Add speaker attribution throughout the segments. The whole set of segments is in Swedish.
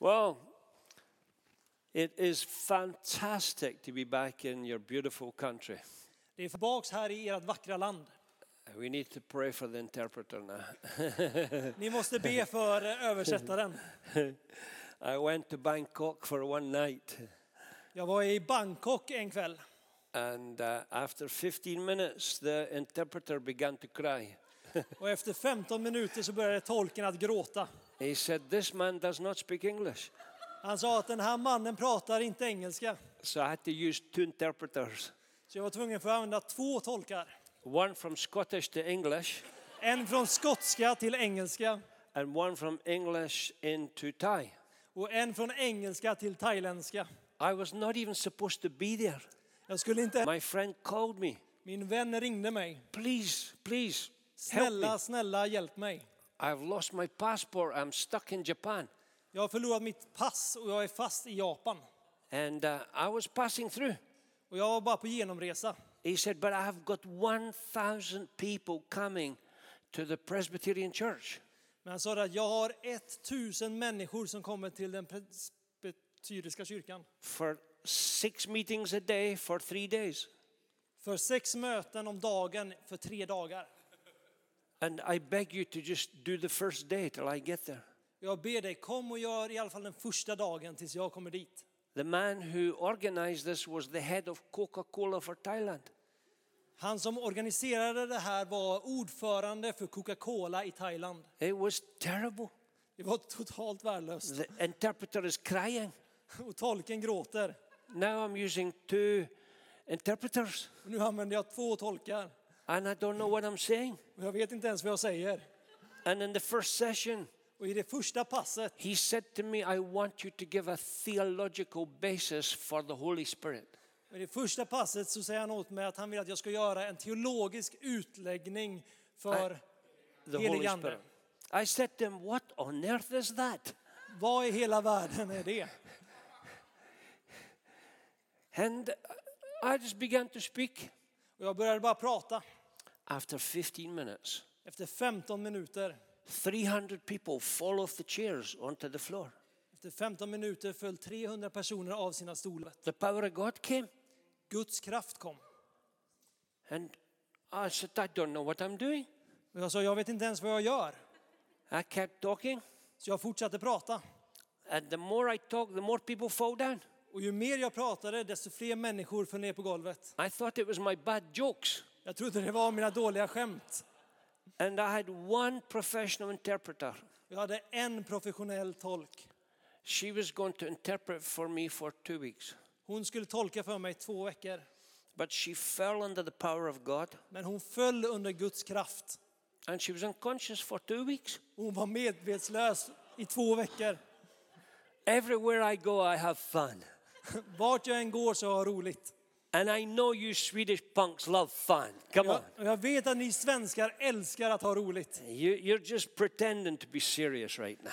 Speaker 1: Well, it is fantastic to be back in your beautiful country.
Speaker 2: Det är tillbaks här i ert vackra land.
Speaker 1: We need to pray for the interpreter now.
Speaker 2: Ni måste be för eh, översättaren.
Speaker 1: I went to Bangkok for one night,
Speaker 2: Jag var i Bangkok en kväll
Speaker 1: and uh, after 15 minutes, the interpreter began to cry.
Speaker 2: och efter 15 minuter så började tolken att gråta.
Speaker 1: He said, This man does not speak English.
Speaker 2: Han sa att den här mannen pratar inte engelska.
Speaker 1: So I had to use two interpreters
Speaker 2: Så jag var tvungen för att använda två tolkar.
Speaker 1: one from Scottish to English,
Speaker 2: En från skotska till engelska
Speaker 1: and one from English into Thai.
Speaker 2: och en från engelska till thailändska.
Speaker 1: I was not even supposed to be there.
Speaker 2: Jag skulle inte...
Speaker 1: My friend called me.
Speaker 2: Min vän ringde mig.
Speaker 1: Please, please, help me.
Speaker 2: Snälla, snälla hjälp mig.
Speaker 1: I've lost my passport. I'm stuck in Japan.
Speaker 2: Jag har förlorat mitt pass och jag är fast i Japan.
Speaker 1: And uh, I was passing through.
Speaker 2: Och jag var bara på genomresa.
Speaker 1: He said, But I've got 1,000 people coming to the Presbyterian Church.
Speaker 2: Men han sa att jag har 1000 människor som kommer till den presbyteriska kyrkan.
Speaker 1: for six meetings a day for three days.
Speaker 2: För sex möten om dagen för tre dagar.
Speaker 1: And I beg you to just do the first day till I get there.
Speaker 2: Jag ber dig, kom och gör i alla fall den första dagen tills jag kommer dit.
Speaker 1: The man who organized this was the head of Coca Cola for Thailand.
Speaker 2: Han som organiserade det här var ordförande för Coca-Cola i Thailand.
Speaker 1: It was terrible.
Speaker 2: Det var totalt värdelöst.
Speaker 1: The interpreter is crying.
Speaker 2: Och tolken gråter.
Speaker 1: Now I'm using two interpreters
Speaker 2: Och nu använder jag två tolkar.
Speaker 1: and I don't know what I'm saying.
Speaker 2: Och jag vet inte ens vad jag säger.
Speaker 1: And in the first session,
Speaker 2: Och i det första passet
Speaker 1: he said to me, I want you to give a theological basis for the Holy Spirit.
Speaker 2: I det första passet så säger han åt mig att han vill att jag ska göra en teologisk utläggning för
Speaker 1: The
Speaker 2: Helig
Speaker 1: Holy
Speaker 2: Ande.
Speaker 1: Spirit. I said to him, What on earth is that?
Speaker 2: vad i hela världen är det?
Speaker 1: And I just began to speak.
Speaker 2: Och jag började bara prata.
Speaker 1: After 15 minutes,
Speaker 2: Efter 15 minuter,
Speaker 1: 300 people fall off the chairs onto the floor.
Speaker 2: efter 15 minuter föll 300 personer av sina stolar.
Speaker 1: The power of God came.
Speaker 2: Guds kraft kom.
Speaker 1: And I said, I don't know what I'm doing.
Speaker 2: Och jag sa, jag vet inte ens vad jag gör.
Speaker 1: I kept talking.
Speaker 2: Så jag fortsatte prata.
Speaker 1: And the more I talk, the more people fall down.
Speaker 2: Och ju mer jag pratade, desto fler människor föll ner på golvet.
Speaker 1: I thought it was my bad jokes.
Speaker 2: Jag trodde det var mina dåliga skämt.
Speaker 1: And I had one professional interpreter.
Speaker 2: Jag hade en professionell tolk.
Speaker 1: She was going to interpret for me for two weeks.
Speaker 2: Hon skulle tolka för mig två veckor.
Speaker 1: But she fell under the power of God
Speaker 2: Men hon föll under Guds kraft.
Speaker 1: and she was unconscious for two weeks.
Speaker 2: Hon var medvetslös i två veckor.
Speaker 1: Everywhere I go, I have fun.
Speaker 2: Vart jag än går så har jag roligt.
Speaker 1: And I know you Swedish punks love fun. Come
Speaker 2: Jag,
Speaker 1: on.
Speaker 2: och jag vet att ni svenskar älskar att ha roligt.
Speaker 1: You, you're just pretending to be serious right now.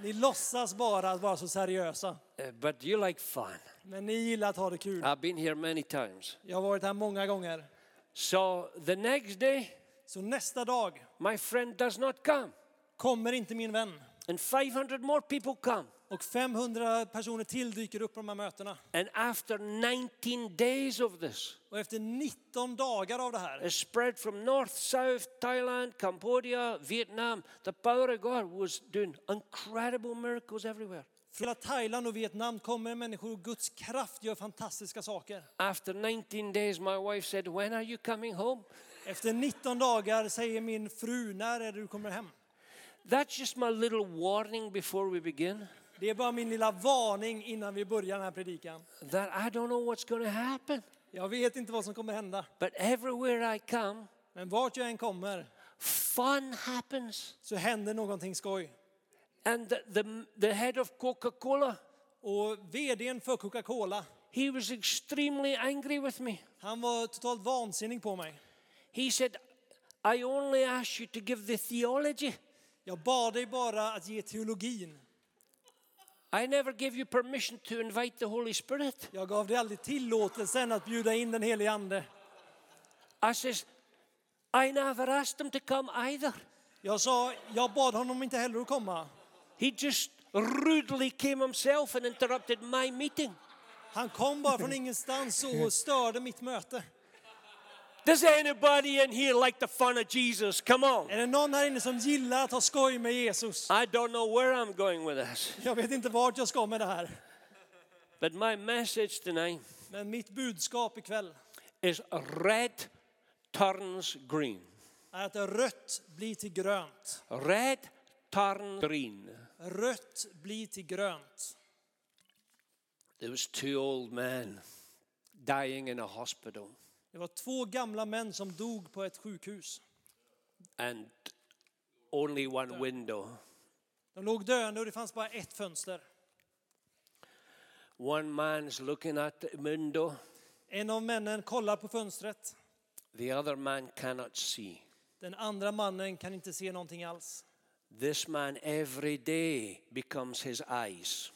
Speaker 2: Ni låtsas bara att vara så seriösa.
Speaker 1: Uh, but you like fun.
Speaker 2: Men ni gillar att ha det kul.
Speaker 1: I've been here many times.
Speaker 2: Jag har varit här många gånger.
Speaker 1: So the next day,
Speaker 2: Så nästa dag
Speaker 1: my friend does not come.
Speaker 2: kommer inte min vän.
Speaker 1: And 500 more people come.
Speaker 2: Och 500 personer till dyker upp på de här mötena.
Speaker 1: And after 19 days of this,
Speaker 2: Och efter 19 dagar av det här,
Speaker 1: it spread from north, south, Thailand, Cambodia, Vietnam. The power of God was doing incredible miracles everywhere.
Speaker 2: från hela Thailand och Vietnam kommer människor och Guds kraft gör fantastiska saker.
Speaker 1: After 19 days, my wife said, When are you coming home?
Speaker 2: Efter 19 dagar säger min fru, när är det du kommer hem?
Speaker 1: That's just my little warning before we begin
Speaker 2: Det är bara min lilla varning innan vi börjar den här predikan.
Speaker 1: that I don't know what's going to happen.
Speaker 2: Jag vet inte vad som kommer hända,
Speaker 1: But everywhere I come,
Speaker 2: men vart jag än kommer
Speaker 1: fun happens.
Speaker 2: så händer någonting skoj.
Speaker 1: And the, the, the head of Coca Cola,
Speaker 2: Och vdn för Coca-Cola,
Speaker 1: he was extremely angry with me.
Speaker 2: han var totalt vansinnig på mig.
Speaker 1: He said, I only asked you to give the theology.
Speaker 2: Jag bad dig bara att ge teologin.
Speaker 1: I never gave you permission to invite the Holy Spirit.
Speaker 2: Jag gav dig aldrig tillåtelsen att bjuda in den helige ande.
Speaker 1: I says, I never asked him to come either.
Speaker 2: Jag sa, jag bad honom inte heller att komma.
Speaker 1: He just rudely came himself and interrupted my meeting.
Speaker 2: Han kom bara från ingenstans och störde mitt möte.
Speaker 1: Does anybody in here like the fun of Jesus? Come on.
Speaker 2: Är det någon här inne som gillar att ha skoj med Jesus?
Speaker 1: I don't know where I'm going with this,
Speaker 2: Jag vet inte vart jag ska med det här.
Speaker 1: but my message tonight
Speaker 2: Men mitt budskap ikväll
Speaker 1: is red turns green.
Speaker 2: är att rött blir till grönt.
Speaker 1: Red turns green.
Speaker 2: Rött blir till grönt.
Speaker 1: There was two old men dying in a hospital,
Speaker 2: Det var två gamla män som dog på ett sjukhus.
Speaker 1: and only one window.
Speaker 2: De låg döende och det fanns bara ett fönster.
Speaker 1: One man's looking at the window,
Speaker 2: En av männen kollar på fönstret.
Speaker 1: the other man cannot see.
Speaker 2: Den andra mannen kan inte se någonting alls.
Speaker 1: This man every day becomes his eyes.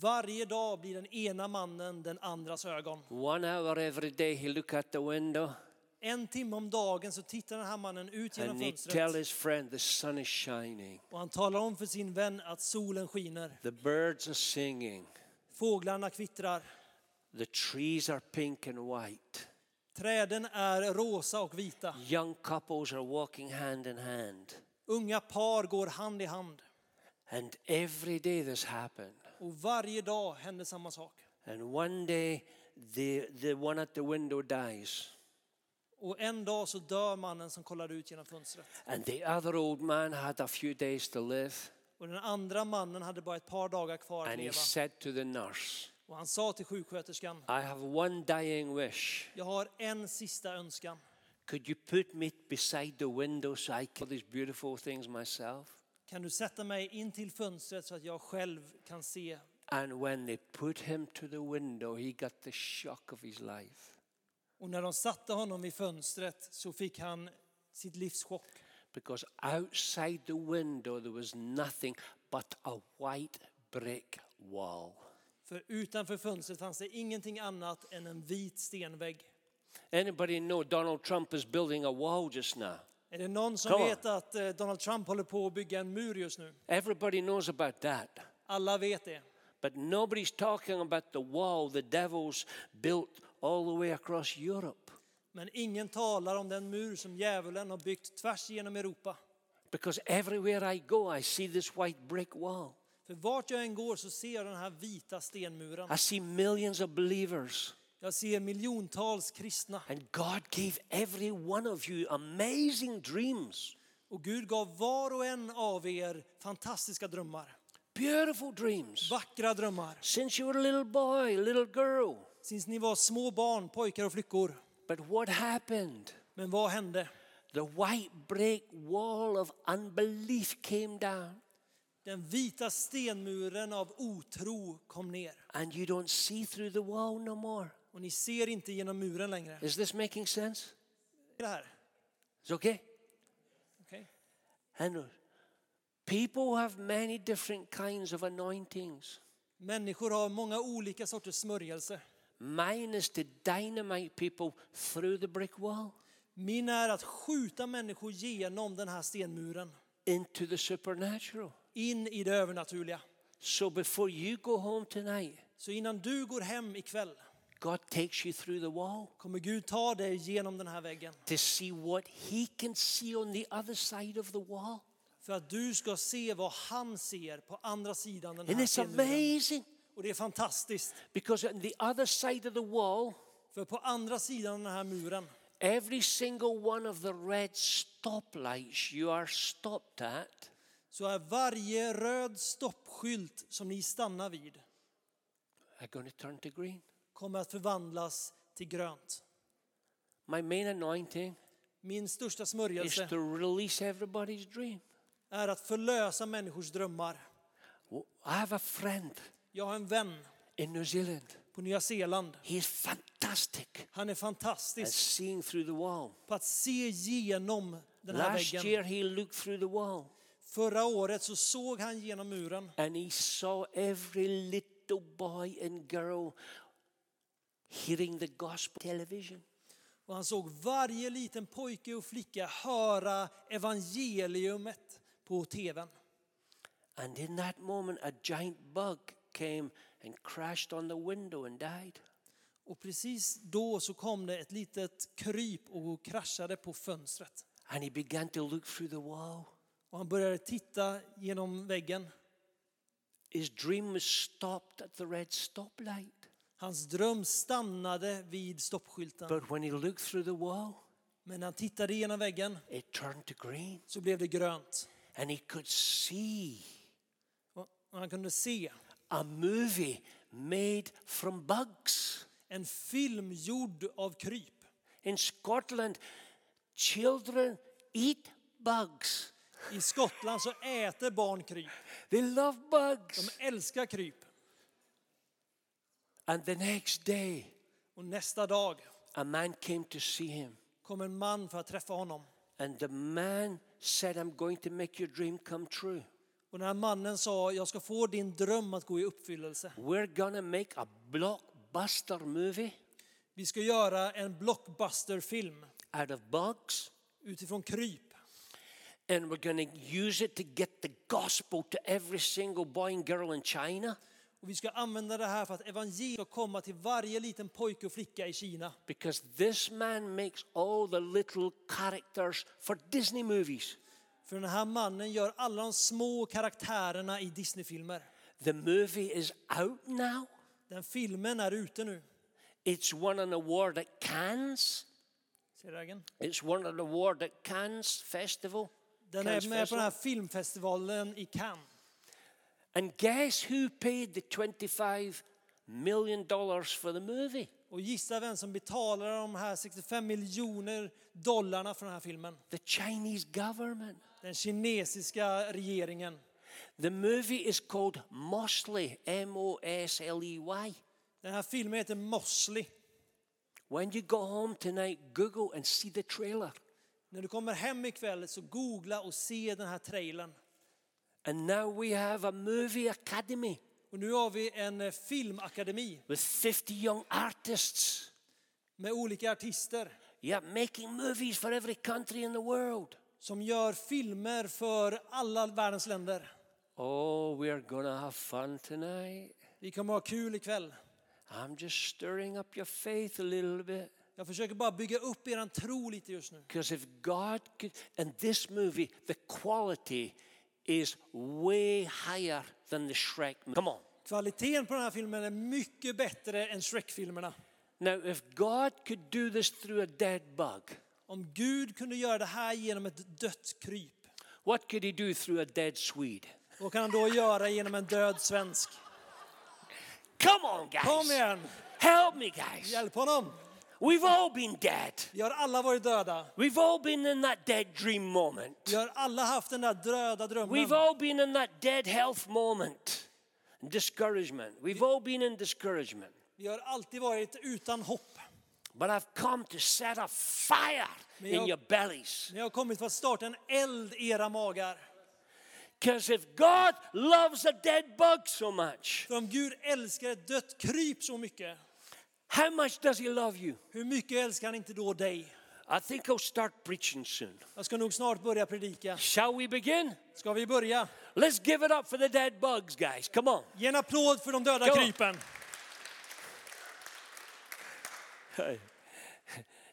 Speaker 2: Varje dag blir den ena mannen den andras ögon.
Speaker 1: One hour every day he look at the window
Speaker 2: En timme om dagen så tittar den här mannen ut genom
Speaker 1: and he tell
Speaker 2: fönstret
Speaker 1: his friend the sun is shining,
Speaker 2: och han talar om för sin vän att solen skiner,
Speaker 1: the birds are singing,
Speaker 2: fåglarna kvittrar,
Speaker 1: the trees are pink and white,
Speaker 2: träden är rosa och vita,
Speaker 1: young couples are walking hand in hand.
Speaker 2: unga par går hand i hand.
Speaker 1: And every day this happened.
Speaker 2: Och varje dag händer samma sak.
Speaker 1: And one day the the one at the window dies
Speaker 2: Och en dag så dör mannen som kollade ut genom fönstret.
Speaker 1: and the other old man had a few days to live
Speaker 2: Och den andra mannen hade bara ett par dagar kvar att
Speaker 1: and he
Speaker 2: leva.
Speaker 1: said to the nurse,
Speaker 2: Och han sa till sjuksköterskan,
Speaker 1: I have one dying wish.
Speaker 2: jag har en sista önskan.
Speaker 1: Could you put me beside the window so I can see these beautiful things myself?
Speaker 2: Kan du sätta mig in till fönstret så att jag själv kan se?
Speaker 1: And when they put him to the window, he got the shock of his life.
Speaker 2: Och när de satte honom vid fönstret så fick han sitt livs chock.
Speaker 1: Because outside the window, there was nothing but a white brick wall.
Speaker 2: För utanför fönstret fanns det ingenting annat än en vit stenvägg.
Speaker 1: Anybody know Donald Trump is building a wall just now?
Speaker 2: Är det någon som
Speaker 1: Come on.
Speaker 2: vet att eh, Donald Trump håller på att bygga en mur just nu?
Speaker 1: Everybody knows about that.
Speaker 2: Alla vet det.
Speaker 1: But nobody's talking about the wall the devil's built all the way across Europe.
Speaker 2: Men ingen talar om den mur som djävulen har byggt tvärs genom Europa.
Speaker 1: Because everywhere I go, I see this white brick wall.
Speaker 2: För vart jag än går så ser jag den här vita stenmuren.
Speaker 1: I see millions of believers.
Speaker 2: Jag ser miljontals kristna.
Speaker 1: And God gave every one of you amazing dreams,
Speaker 2: Och Gud gav var och en av er fantastiska drömmar.
Speaker 1: beautiful dreams.
Speaker 2: Vackra drömmar.
Speaker 1: Since you were a little boy, little girl.
Speaker 2: Since ni var små barn, pojkar och flickor.
Speaker 1: But what happened?
Speaker 2: Men vad hände?
Speaker 1: The white brick wall of unbelief came down,
Speaker 2: Den vita stenmuren av otro kom ner.
Speaker 1: and you don't see through the wall no more.
Speaker 2: Och ni ser inte genom muren längre.
Speaker 1: Is this making sense?
Speaker 2: Det här.
Speaker 1: It's okay.
Speaker 2: Okej.
Speaker 1: And people have many different kinds of anointings.
Speaker 2: Människor har många olika sorters smörjelse.
Speaker 1: Mine is to dynamite people through the brick wall
Speaker 2: Min är att skjuta människor genom den här stenmuren.
Speaker 1: into the supernatural.
Speaker 2: In i det övernaturliga.
Speaker 1: So before you go home tonight,
Speaker 2: Så innan du går hem ikväll
Speaker 1: God takes you through the wall
Speaker 2: kommer Gud ta dig genom den här väggen.
Speaker 1: to see what He can see on the other side of the wall.
Speaker 2: För att du ska se vad han ser på andra sidan den
Speaker 1: And
Speaker 2: här
Speaker 1: it's
Speaker 2: stenmuren.
Speaker 1: amazing
Speaker 2: Och det är fantastiskt.
Speaker 1: because on the other side of the wall,
Speaker 2: För på andra sidan den här muren,
Speaker 1: every single one of the red stoplights you are stopped at
Speaker 2: så är varje röd stoppskylt som ni stannar vid
Speaker 1: are going to turn to green.
Speaker 2: kommer att förvandlas till grönt.
Speaker 1: My main anointing
Speaker 2: Min största
Speaker 1: is
Speaker 2: smörjelse
Speaker 1: to release everybody's dream.
Speaker 2: är att förlösa människors drömmar.
Speaker 1: Well, I have a friend
Speaker 2: Jag har en vän
Speaker 1: in New Zealand.
Speaker 2: på Nya Zeeland.
Speaker 1: He is fantastic
Speaker 2: Han är
Speaker 1: at
Speaker 2: fantastisk
Speaker 1: seeing through the wall.
Speaker 2: på att se genom den här
Speaker 1: Last
Speaker 2: väggen.
Speaker 1: year he looked through the wall
Speaker 2: Förra året så såg han genom muren
Speaker 1: and he saw every little boy and girl hearing the gospel television.
Speaker 2: och han såg varje liten pojke och flicka höra evangeliumet på tvn.
Speaker 1: And in that moment, a giant bug came and crashed on the window and died.
Speaker 2: Och precis då så kom det ett litet kryp och kraschade på fönstret.
Speaker 1: And he began to look through the wall.
Speaker 2: Och han började titta genom väggen.
Speaker 1: His dream was stopped at the red stoplight.
Speaker 2: Hans dröm stannade vid stoppskylten.
Speaker 1: But when he looked through the wall,
Speaker 2: Men när han tittade genom väggen
Speaker 1: it turned to green.
Speaker 2: så blev det grönt.
Speaker 1: And he could see
Speaker 2: Och och han kunde se
Speaker 1: a movie made from bugs.
Speaker 2: en film gjord av kryp.
Speaker 1: In Scotland, children eat bugs.
Speaker 2: I Skottland så äter barn kryp.
Speaker 1: They love bugs.
Speaker 2: De älskar kryp.
Speaker 1: And the next day,
Speaker 2: Och nästa dag
Speaker 1: a man came to see him.
Speaker 2: kom en man för att träffa honom.
Speaker 1: And the man said, I'm going to make your dream come true.
Speaker 2: Och den här mannen sa, jag ska få din dröm att gå i uppfyllelse.
Speaker 1: We're going to make a blockbuster movie
Speaker 2: Vi ska göra en blockbusterfilm
Speaker 1: out of bugs.
Speaker 2: utifrån kryp.
Speaker 1: And we're going to use it to get the gospel to every single boy and girl in China
Speaker 2: Och vi ska använda det här för att evangeliet ska komma till varje liten pojke och flicka i Kina.
Speaker 1: because this man makes all the little characters for Disney movies.
Speaker 2: För den här mannen gör alla de små karaktärerna i Disneyfilmer.
Speaker 1: The movie is out now.
Speaker 2: Den filmen är ute nu.
Speaker 1: It's won an award at Cannes.
Speaker 2: Ser du ägen?
Speaker 1: It's won an award at Cannes Festival.
Speaker 2: Den
Speaker 1: Cannes
Speaker 2: är med på den
Speaker 1: Festival.
Speaker 2: här filmfestivalen i Cannes.
Speaker 1: And guess who paid the $25 million for the movie?
Speaker 2: Och gissa vem som betalar de här 65 miljoner dollarna för den här filmen.
Speaker 1: The Chinese government.
Speaker 2: Den kinesiska regeringen.
Speaker 1: The movie is called Mosley, M O S L E Y.
Speaker 2: Den här filmen heter Mosley.
Speaker 1: When you go home tonight, Google and see the trailer.
Speaker 2: När du kommer hem ikväll så googla och se den här trailern.
Speaker 1: And now we have a movie academy
Speaker 2: Och nu har vi en eh, filmakademi
Speaker 1: with 50 young artists.
Speaker 2: med olika artister
Speaker 1: Yeah, making movies for every country in the world.
Speaker 2: som gör filmer för alla världens länder.
Speaker 1: Oh, we're going to have fun tonight.
Speaker 2: Vi kommer ha kul ikväll.
Speaker 1: I'm just stirring up your faith a little bit.
Speaker 2: Jag försöker bara bygga upp er tro lite just nu.
Speaker 1: Because if God could, and this movie, the quality is way higher than the Shrek movie. Come on.
Speaker 2: Kvaliteten på den här filmen är mycket bättre än Shrek-filmerna.
Speaker 1: Now, if God could do this through a dead bug,
Speaker 2: Om Gud kunde göra det här genom ett dött kryp,
Speaker 1: what could he do through a dead Swede?
Speaker 2: vad kan han då göra genom en död svensk?
Speaker 1: Come on, guys.
Speaker 2: Kom igen!
Speaker 1: Help me, guys.
Speaker 2: Hjälp honom!
Speaker 1: We've all been dead.
Speaker 2: Vi har alla varit döda.
Speaker 1: We've all been in that dead dream moment.
Speaker 2: Vi har alla haft den där döda drömmen.
Speaker 1: We've all been in that dead health moment. Discouragement. We've all been in discouragement.
Speaker 2: Vi har alltid varit utan hopp.
Speaker 1: But I've come to set a fire
Speaker 2: May
Speaker 1: in
Speaker 2: your-
Speaker 1: your bellies.
Speaker 2: Ni har kommit för att starta en eld i era magar.
Speaker 1: Because if God loves a dead bug so much,
Speaker 2: För om Gud älskar ett dött kryp så mycket,
Speaker 1: how much does He love you?
Speaker 2: hur mycket älskar han inte då dig?
Speaker 1: I think I'll start preaching soon.
Speaker 2: Jag ska nog snart börja predika.
Speaker 1: Shall we begin?
Speaker 2: Ska vi börja?
Speaker 1: Let's give it up for the dead bugs, guys. Come on.
Speaker 2: Ge en applåd för de döda
Speaker 1: Go.
Speaker 2: krypen.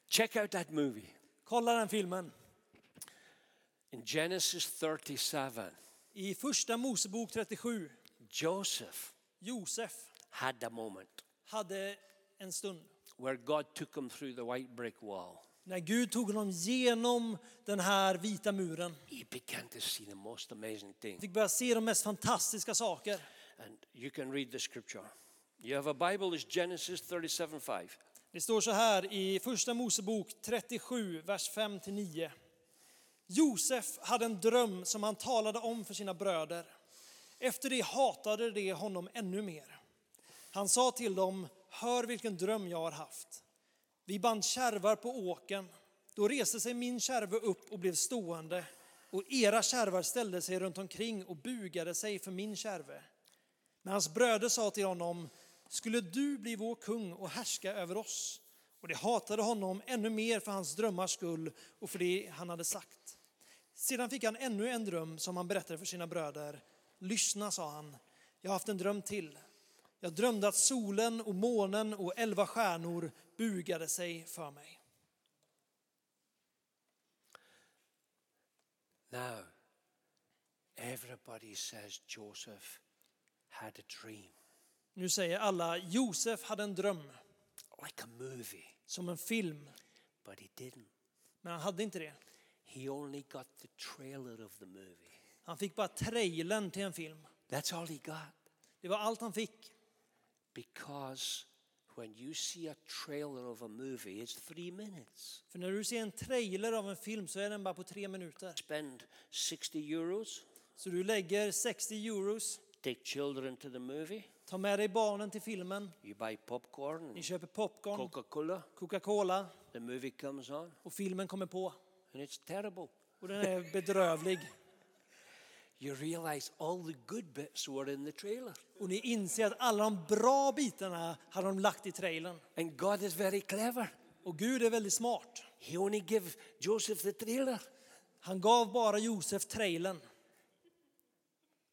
Speaker 1: Check out that movie
Speaker 2: Kolla den filmen.
Speaker 1: in Genesis 37.
Speaker 2: I första Mosebok 37,
Speaker 1: Joseph
Speaker 2: Josef
Speaker 1: had a moment
Speaker 2: hade en stund
Speaker 1: where God took him through the white brick wall.
Speaker 2: när Gud tog honom genom den här vita muren.
Speaker 1: He began to see the most amazing things.
Speaker 2: Fick börja se de mest fantastiska saker.
Speaker 1: And you can read the scripture. You have a Bible, it's Genesis 37 5.
Speaker 2: Det står så här i Första Mosebok 37, vers 5-9. Josef hade en dröm som han talade om för sina bröder. Efter det hatade de honom ännu mer. Han sa till dem, hör vilken dröm jag har haft. Vi band kärvar på åken. Då reste sig min kärve upp och blev stående och era kärvar ställde sig runt omkring och bugade sig för min kärve. Men hans bröder sa till honom, skulle du bli vår kung och härska över oss? Och de hatade honom ännu mer för hans drömmars skull och för det han hade sagt. Sedan fick han ännu en dröm som han berättade för sina bröder. Lyssna, sa han. Jag har haft en dröm till. Jag drömde att solen och månen och elva stjärnor bugade sig för mig.
Speaker 1: Now, everybody says Joseph had a dream,
Speaker 2: Nu säger alla Josef hade en dröm,
Speaker 1: like a movie,
Speaker 2: som en film,
Speaker 1: but he didn't.
Speaker 2: men han hade inte det.
Speaker 1: He only got the trailer of the movie.
Speaker 2: Han fick bara trailern till en film.
Speaker 1: That's all he got.
Speaker 2: Det var allt han fick.
Speaker 1: Because when you see a trailer of a movie, it's three minutes.
Speaker 2: För när du ser en trailer av en film så är den bara på tre minuter.
Speaker 1: Spend 60 euros,
Speaker 2: Så du lägger 60 euros,
Speaker 1: take children to the movie,
Speaker 2: tar med dig barnen till filmen,
Speaker 1: you buy popcorn,
Speaker 2: ni
Speaker 1: and
Speaker 2: köper popcorn,
Speaker 1: Coca Cola,
Speaker 2: Coca-Cola
Speaker 1: the movie comes on,
Speaker 2: och filmen kommer på.
Speaker 1: and it's terrible.
Speaker 2: Och den är bedrövlig.
Speaker 1: You realize all the good bits were in the trailer.
Speaker 2: Och ni inser att alla de bra bitarna hade de lagt i trailern.
Speaker 1: And God is very clever.
Speaker 2: Och Gud är väldigt smart.
Speaker 1: He only gave Joseph the trailer.
Speaker 2: Han gav bara Josef trailern.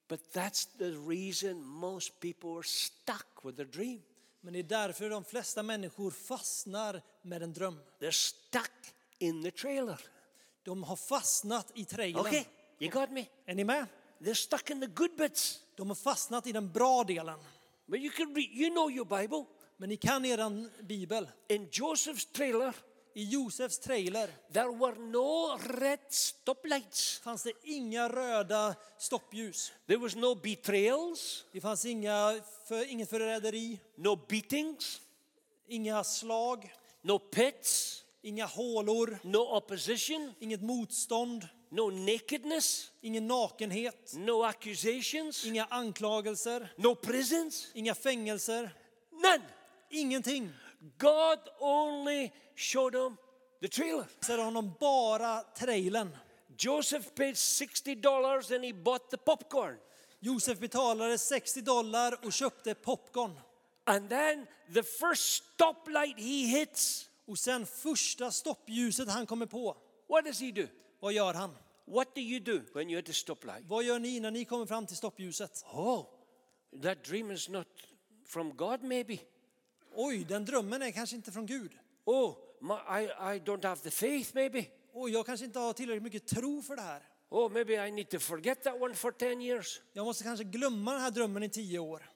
Speaker 1: But that's the reason most people are stuck with their dream.
Speaker 2: Men det är därför de flesta människor fastnar med en dröm.
Speaker 1: They're stuck in the trailer.
Speaker 2: De har fastnat i trailern.
Speaker 1: Okay, you got me?
Speaker 2: Är ni med?
Speaker 1: They're stuck in the good bits.
Speaker 2: De har fastnat i den bra delen.
Speaker 1: But you can read, you know your Bible.
Speaker 2: Men ni kan eran bibel.
Speaker 1: In Joseph's trailer,
Speaker 2: I Josefs trailer
Speaker 1: there were no red stoplights.
Speaker 2: fanns det inga röda stoppljus.
Speaker 1: There was no betrayals,
Speaker 2: Det fanns inga för, inget förräderi,
Speaker 1: no beatings,
Speaker 2: inga slag,
Speaker 1: no pits,
Speaker 2: inga hålor,
Speaker 1: no opposition,
Speaker 2: inget motstånd,
Speaker 1: no nakedness,
Speaker 2: ingen nakenhet,
Speaker 1: no accusations,
Speaker 2: inga anklagelser,
Speaker 1: no prisons,
Speaker 2: inga fängelser,
Speaker 1: none.
Speaker 2: ingenting.
Speaker 1: God only showed him the trailer.
Speaker 2: Så hade honom bara trailern.
Speaker 1: Joseph paid $60 and he bought the popcorn.
Speaker 2: Josef betalade 60 dollar och köpte popcorn.
Speaker 1: And then the first stoplight he hits,
Speaker 2: Och sen första stoppljuset han kommer på,
Speaker 1: what does he do?
Speaker 2: vad gör han?
Speaker 1: What do you do when you're at a stoplight?
Speaker 2: Vad gör ni när ni kommer fram till stoppljuset?
Speaker 1: Oh, that dream is not from God, maybe.
Speaker 2: Oj, den drömmen är kanske inte från Gud.
Speaker 1: Oh, my, I, I don't have the faith, maybe.
Speaker 2: Oj, jag kanske inte har tillräckligt mycket tro för det här.
Speaker 1: Oh, maybe I need to forget that one for 10 years.
Speaker 2: Jag måste kanske glömma den här drömmen i tio år.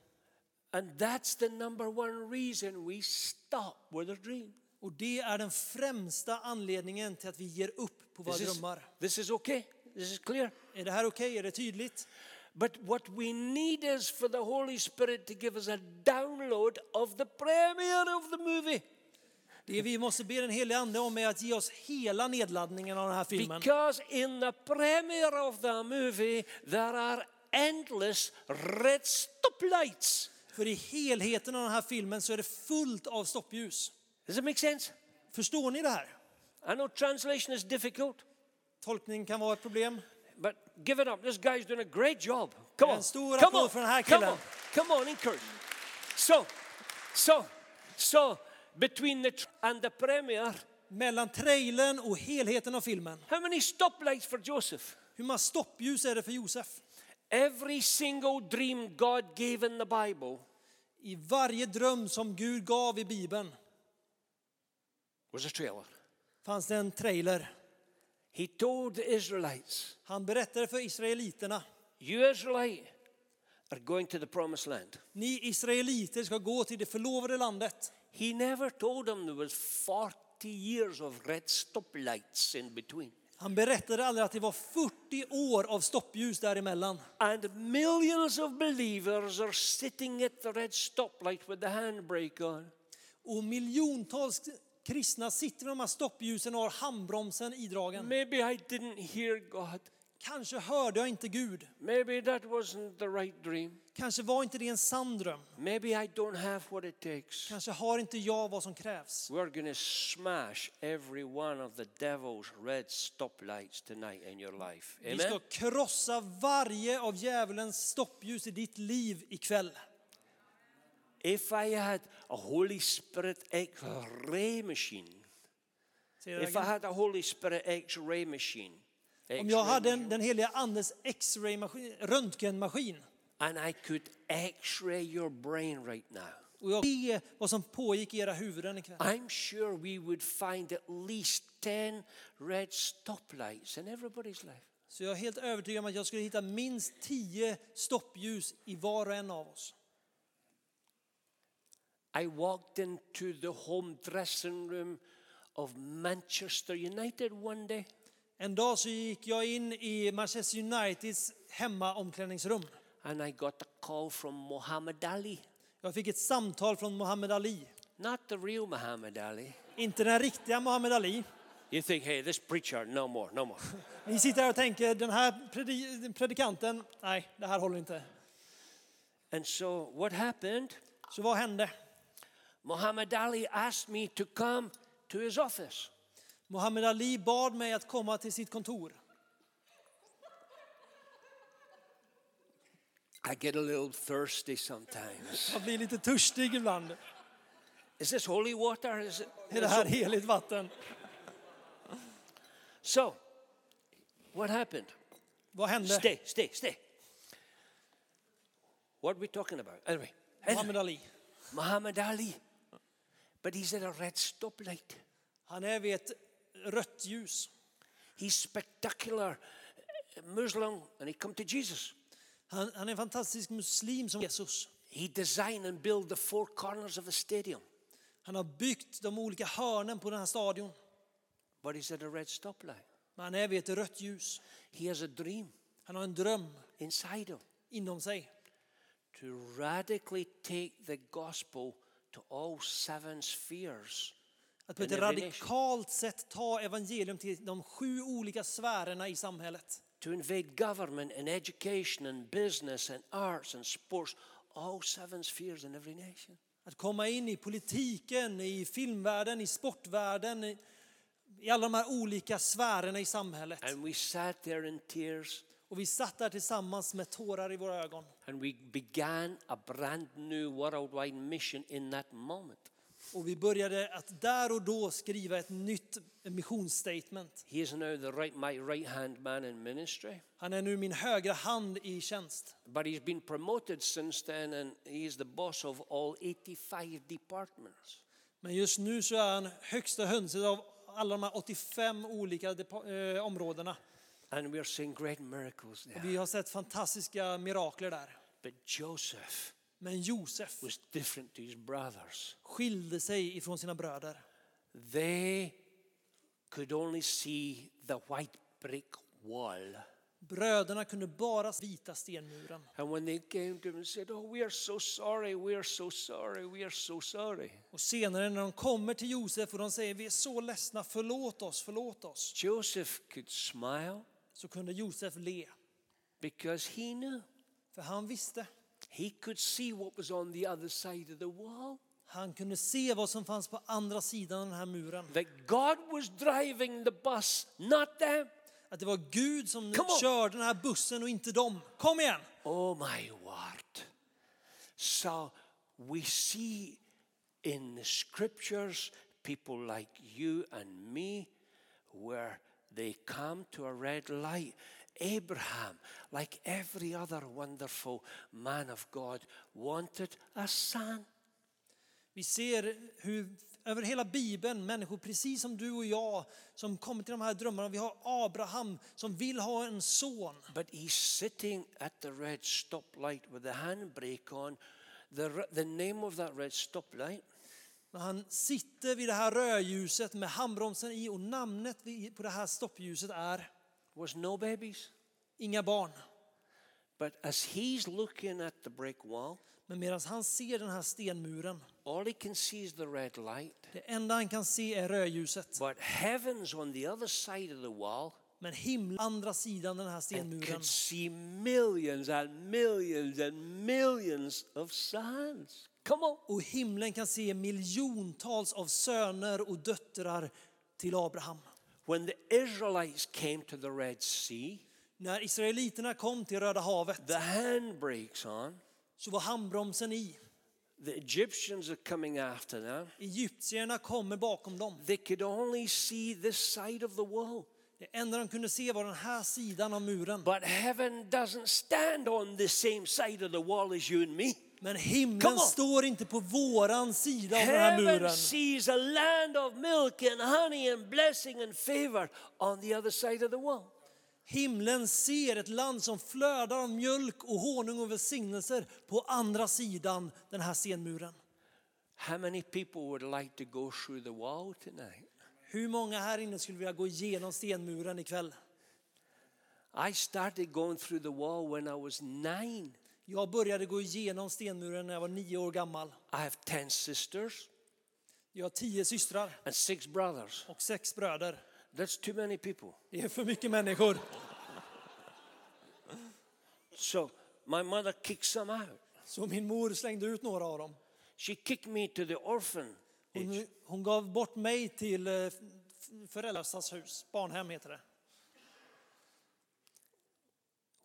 Speaker 1: And that's the number one reason we stop with a dream.
Speaker 2: Och det är den främsta anledningen till att vi ger upp på våra
Speaker 1: This is,
Speaker 2: drömmar.
Speaker 1: this is okay. This is clear.
Speaker 2: Är det här okej? Är det tydligt?
Speaker 1: But what we need is for the Holy Spirit to give us a download of the premiere of the movie.
Speaker 2: Det vi måste be den helige Ande om är att ge oss hela nedladdningen av den här filmen.
Speaker 1: Because in the premiere of the movie, there are endless red stoplights.
Speaker 2: För i helheten av den här filmen så är det fullt av stoppljus.
Speaker 1: Does it make sense?
Speaker 2: Förstår ni det här?
Speaker 1: I know translation is difficult,
Speaker 2: Tolkning kan vara ett problem.
Speaker 1: but give it up. This guy's doing a great job. Come
Speaker 2: En
Speaker 1: on.
Speaker 2: stor
Speaker 1: Come
Speaker 2: applåd
Speaker 1: on.
Speaker 2: för den här
Speaker 1: Come
Speaker 2: killen.
Speaker 1: on. Come on, encourage. So, so, so, between the tr- and the premiere,
Speaker 2: Mellan trailern och helheten av filmen.
Speaker 1: how many stoplights for Joseph?
Speaker 2: Hur många stoppljus är det för Josef?
Speaker 1: Every single dream God gave in the Bible
Speaker 2: I varje dröm som Gud gav i Bibeln
Speaker 1: was a trailer.
Speaker 2: fanns det en trailer.
Speaker 1: He told the Israelites,
Speaker 2: Han berättade för israeliterna.
Speaker 1: You Israelite are going to the promised land.
Speaker 2: Ni israeliter ska gå till det förlovade landet.
Speaker 1: He never told them there was 40 years of red stoplights in between.
Speaker 2: Han berättade aldrig att det var 40 år av stoppljus däremellan.
Speaker 1: And millions of believers are sitting at the red stoplight with the handbrake on.
Speaker 2: Och miljontals kristna sitter med de här stoppljusen och har handbromsen idragen.
Speaker 1: Maybe I didn't hear God.
Speaker 2: Kanske hörde jag inte Gud.
Speaker 1: Maybe that wasn't the right dream.
Speaker 2: Kanske var inte det en sann dröm.
Speaker 1: Maybe I don't have what it takes.
Speaker 2: Kanske har inte jag vad som krävs.
Speaker 1: We're going to smash every one of the devil's red stoplights tonight in your life.
Speaker 2: Vi ska
Speaker 1: Amen.
Speaker 2: krossa varje av djävulens stoppljus i ditt liv ikväll.
Speaker 1: If I had a Holy Spirit X-ray machine,
Speaker 2: Säger jag
Speaker 1: if I
Speaker 2: igen.
Speaker 1: had a Holy Spirit X-ray machine,
Speaker 2: Om jag hade en,
Speaker 1: X-ray
Speaker 2: den heliga andens X-ray-maskin, röntgenmaskin
Speaker 1: and I could x ray your brain right now,
Speaker 2: och jag se vad som pågick i era huvuden ikväll.
Speaker 1: I'm sure we would find at least 10 red stoplights in everybody's life.
Speaker 2: Så jag är helt övertygad om att jag skulle hitta minst tio stoppljus i var och en av oss.
Speaker 1: I walked into the home dressing room of Manchester United one day.
Speaker 2: En dag så gick jag in i Manchester Uniteds hemmaomklädningsrum.
Speaker 1: and I got a call from Muhammad Ali.
Speaker 2: Jag fick ett samtal från Muhammad Ali.
Speaker 1: Not the real Muhammad Ali.
Speaker 2: Inte den riktiga Muhammad Ali.
Speaker 1: You think, hey, this preacher, no more, no more.
Speaker 2: Ni sitter här och tänker, den här predi- predikanten, nej, det här håller inte.
Speaker 1: and so what happened?
Speaker 2: Så vad hände?
Speaker 1: Muhammad Ali asked me to come to his office.
Speaker 2: Muhammad Ali bad mig att komma till sitt kontor.
Speaker 1: I get a little thirsty sometimes.
Speaker 2: Jag blir lite törstig ibland.
Speaker 1: Is this holy water? Is it?
Speaker 2: Är det här heligt vatten?
Speaker 1: So, what happened?
Speaker 2: Vad hände?
Speaker 1: Stay, stay, stay. What are we talking about? Anyway,
Speaker 2: Muhammad Ali.
Speaker 1: Muhammad Ali. But he's at a red stoplight.
Speaker 2: Han är vid ett rött ljus.
Speaker 1: He's spectacular Muslim and he come to Jesus.
Speaker 2: Han, han är en fantastisk muslim som Jesus.
Speaker 1: He designed and built the four corners of the stadium,
Speaker 2: Han har byggt de olika hörnen på den här stadion.
Speaker 1: but he's at a red stoplight.
Speaker 2: Men han är vid ett rött ljus.
Speaker 1: He has a dream
Speaker 2: Han har en dröm
Speaker 1: inside him
Speaker 2: inom sig
Speaker 1: to radically take the gospel to all seven spheres.
Speaker 2: att på ett
Speaker 1: En revelation.
Speaker 2: radikalt sätt ta evangelium till de sju olika sfärerna i samhället.
Speaker 1: To invade government and education and business and arts and sports, all seven spheres in every nation.
Speaker 2: Att komma in i politiken, i filmvärlden, i sportvärlden, i, i alla de här olika sfärerna i samhället.
Speaker 1: And we sat there in tears
Speaker 2: Och vi satt där tillsammans med tårar i våra ögon.
Speaker 1: and we began a brand new worldwide mission in that moment.
Speaker 2: Och vi började att där och då skriva ett nytt missionsstatement.
Speaker 1: He is now the right, my right hand man in ministry,
Speaker 2: Han är nu min högra hand i tjänst.
Speaker 1: but he's been promoted since then and he's the boss of all 85 departments.
Speaker 2: Men just nu så är han högsta hönset av alla de här 85 olika depa- eh, områdena.
Speaker 1: And we're seeing great miracles there.
Speaker 2: Vi har sett fantastiska mirakler där.
Speaker 1: But Joseph
Speaker 2: Men Josef
Speaker 1: was different to his brothers.
Speaker 2: skilde sig ifrån sina bröder.
Speaker 1: They could only see the white brick wall.
Speaker 2: Bröderna kunde bara se vita stenmuren.
Speaker 1: And when they came to him and said, Oh, we are so sorry, we are so sorry, we are so sorry.
Speaker 2: Och senare när de kommer till Josef och de säger vi är så ledsna, förlåt oss, förlåt oss.
Speaker 1: Joseph could smile
Speaker 2: Så kunde Josef le,
Speaker 1: because he knew.
Speaker 2: för han visste.
Speaker 1: He could see what was on the other side of the wall.
Speaker 2: Han kunde se vad som fanns på andra sidan av den här muren.
Speaker 1: That God was driving the bus, not them.
Speaker 2: Att det var Gud som
Speaker 1: Come on.
Speaker 2: körde den här bussen och inte dem. Kom igen!
Speaker 1: Oh my word. So we see in the scriptures people like you and me where they come to a red light. Abraham, like every other wonderful man of God, wanted a son.
Speaker 2: Vi ser hur över hela Bibeln, människor precis som du och jag som kommer till de här drömmarna. Vi har Abraham som vill ha en son.
Speaker 1: But he's sitting at the red stoplight with the handbrake on. The, r- the name of that red stoplight
Speaker 2: Men han sitter vid det här rödljuset med handbromsen i och namnet vid- på det här stoppljuset är
Speaker 1: was no babies.
Speaker 2: Inga barn.
Speaker 1: But as he's looking at the brick wall,
Speaker 2: Men medan han ser den här stenmuren,
Speaker 1: all he can see is the red light.
Speaker 2: det enda han kan se är rödljuset.
Speaker 1: But heaven's on the other side of the wall
Speaker 2: Men himlen andra sidan den här
Speaker 1: and
Speaker 2: stenmuren.
Speaker 1: could see millions and millions and millions of sons. Come on.
Speaker 2: Och himlen kan se miljontals av söner och döttrar till Abraham.
Speaker 1: When the Israelites came to the Red Sea,
Speaker 2: När israeliterna kom till Röda havet
Speaker 1: the handbrakes on.
Speaker 2: så var handbromsen i.
Speaker 1: The Egyptians are coming after them.
Speaker 2: Egyptierna kommer bakom dem.
Speaker 1: They could only see this side of the wall.
Speaker 2: Det enda de kunde se var den här sidan av muren.
Speaker 1: But heaven doesn't stand on the same side of the wall as you and me.
Speaker 2: Men
Speaker 1: Come
Speaker 2: himlen
Speaker 1: on.
Speaker 2: står inte på våran sida av den här
Speaker 1: Heaven
Speaker 2: muren.
Speaker 1: sees a land of milk and honey and blessing and favor on the other side of the wall.
Speaker 2: Himlen ser ett land som flödar av mjölk och honung och välsignelser på andra sidan den här stenmuren.
Speaker 1: How many people would like to go through the wall tonight?
Speaker 2: Hur många här inne skulle vilja gå igenom stenmuren ikväll?
Speaker 1: I started going through the wall when I was nine.
Speaker 2: Jag började gå igenom stenmuren när jag var nio år gammal.
Speaker 1: I have 10 sisters
Speaker 2: Jag har tio systrar
Speaker 1: and six brothers.
Speaker 2: och sex bröder.
Speaker 1: That's too many people.
Speaker 2: Det är för mycket människor.
Speaker 1: So my mother kicked some out.
Speaker 2: Så min mor slängde ut några av dem.
Speaker 1: She kicked me to the orphan.
Speaker 2: Hon, hon gav bort mig till eh, f- föräldrarnas hus, barnhem heter det,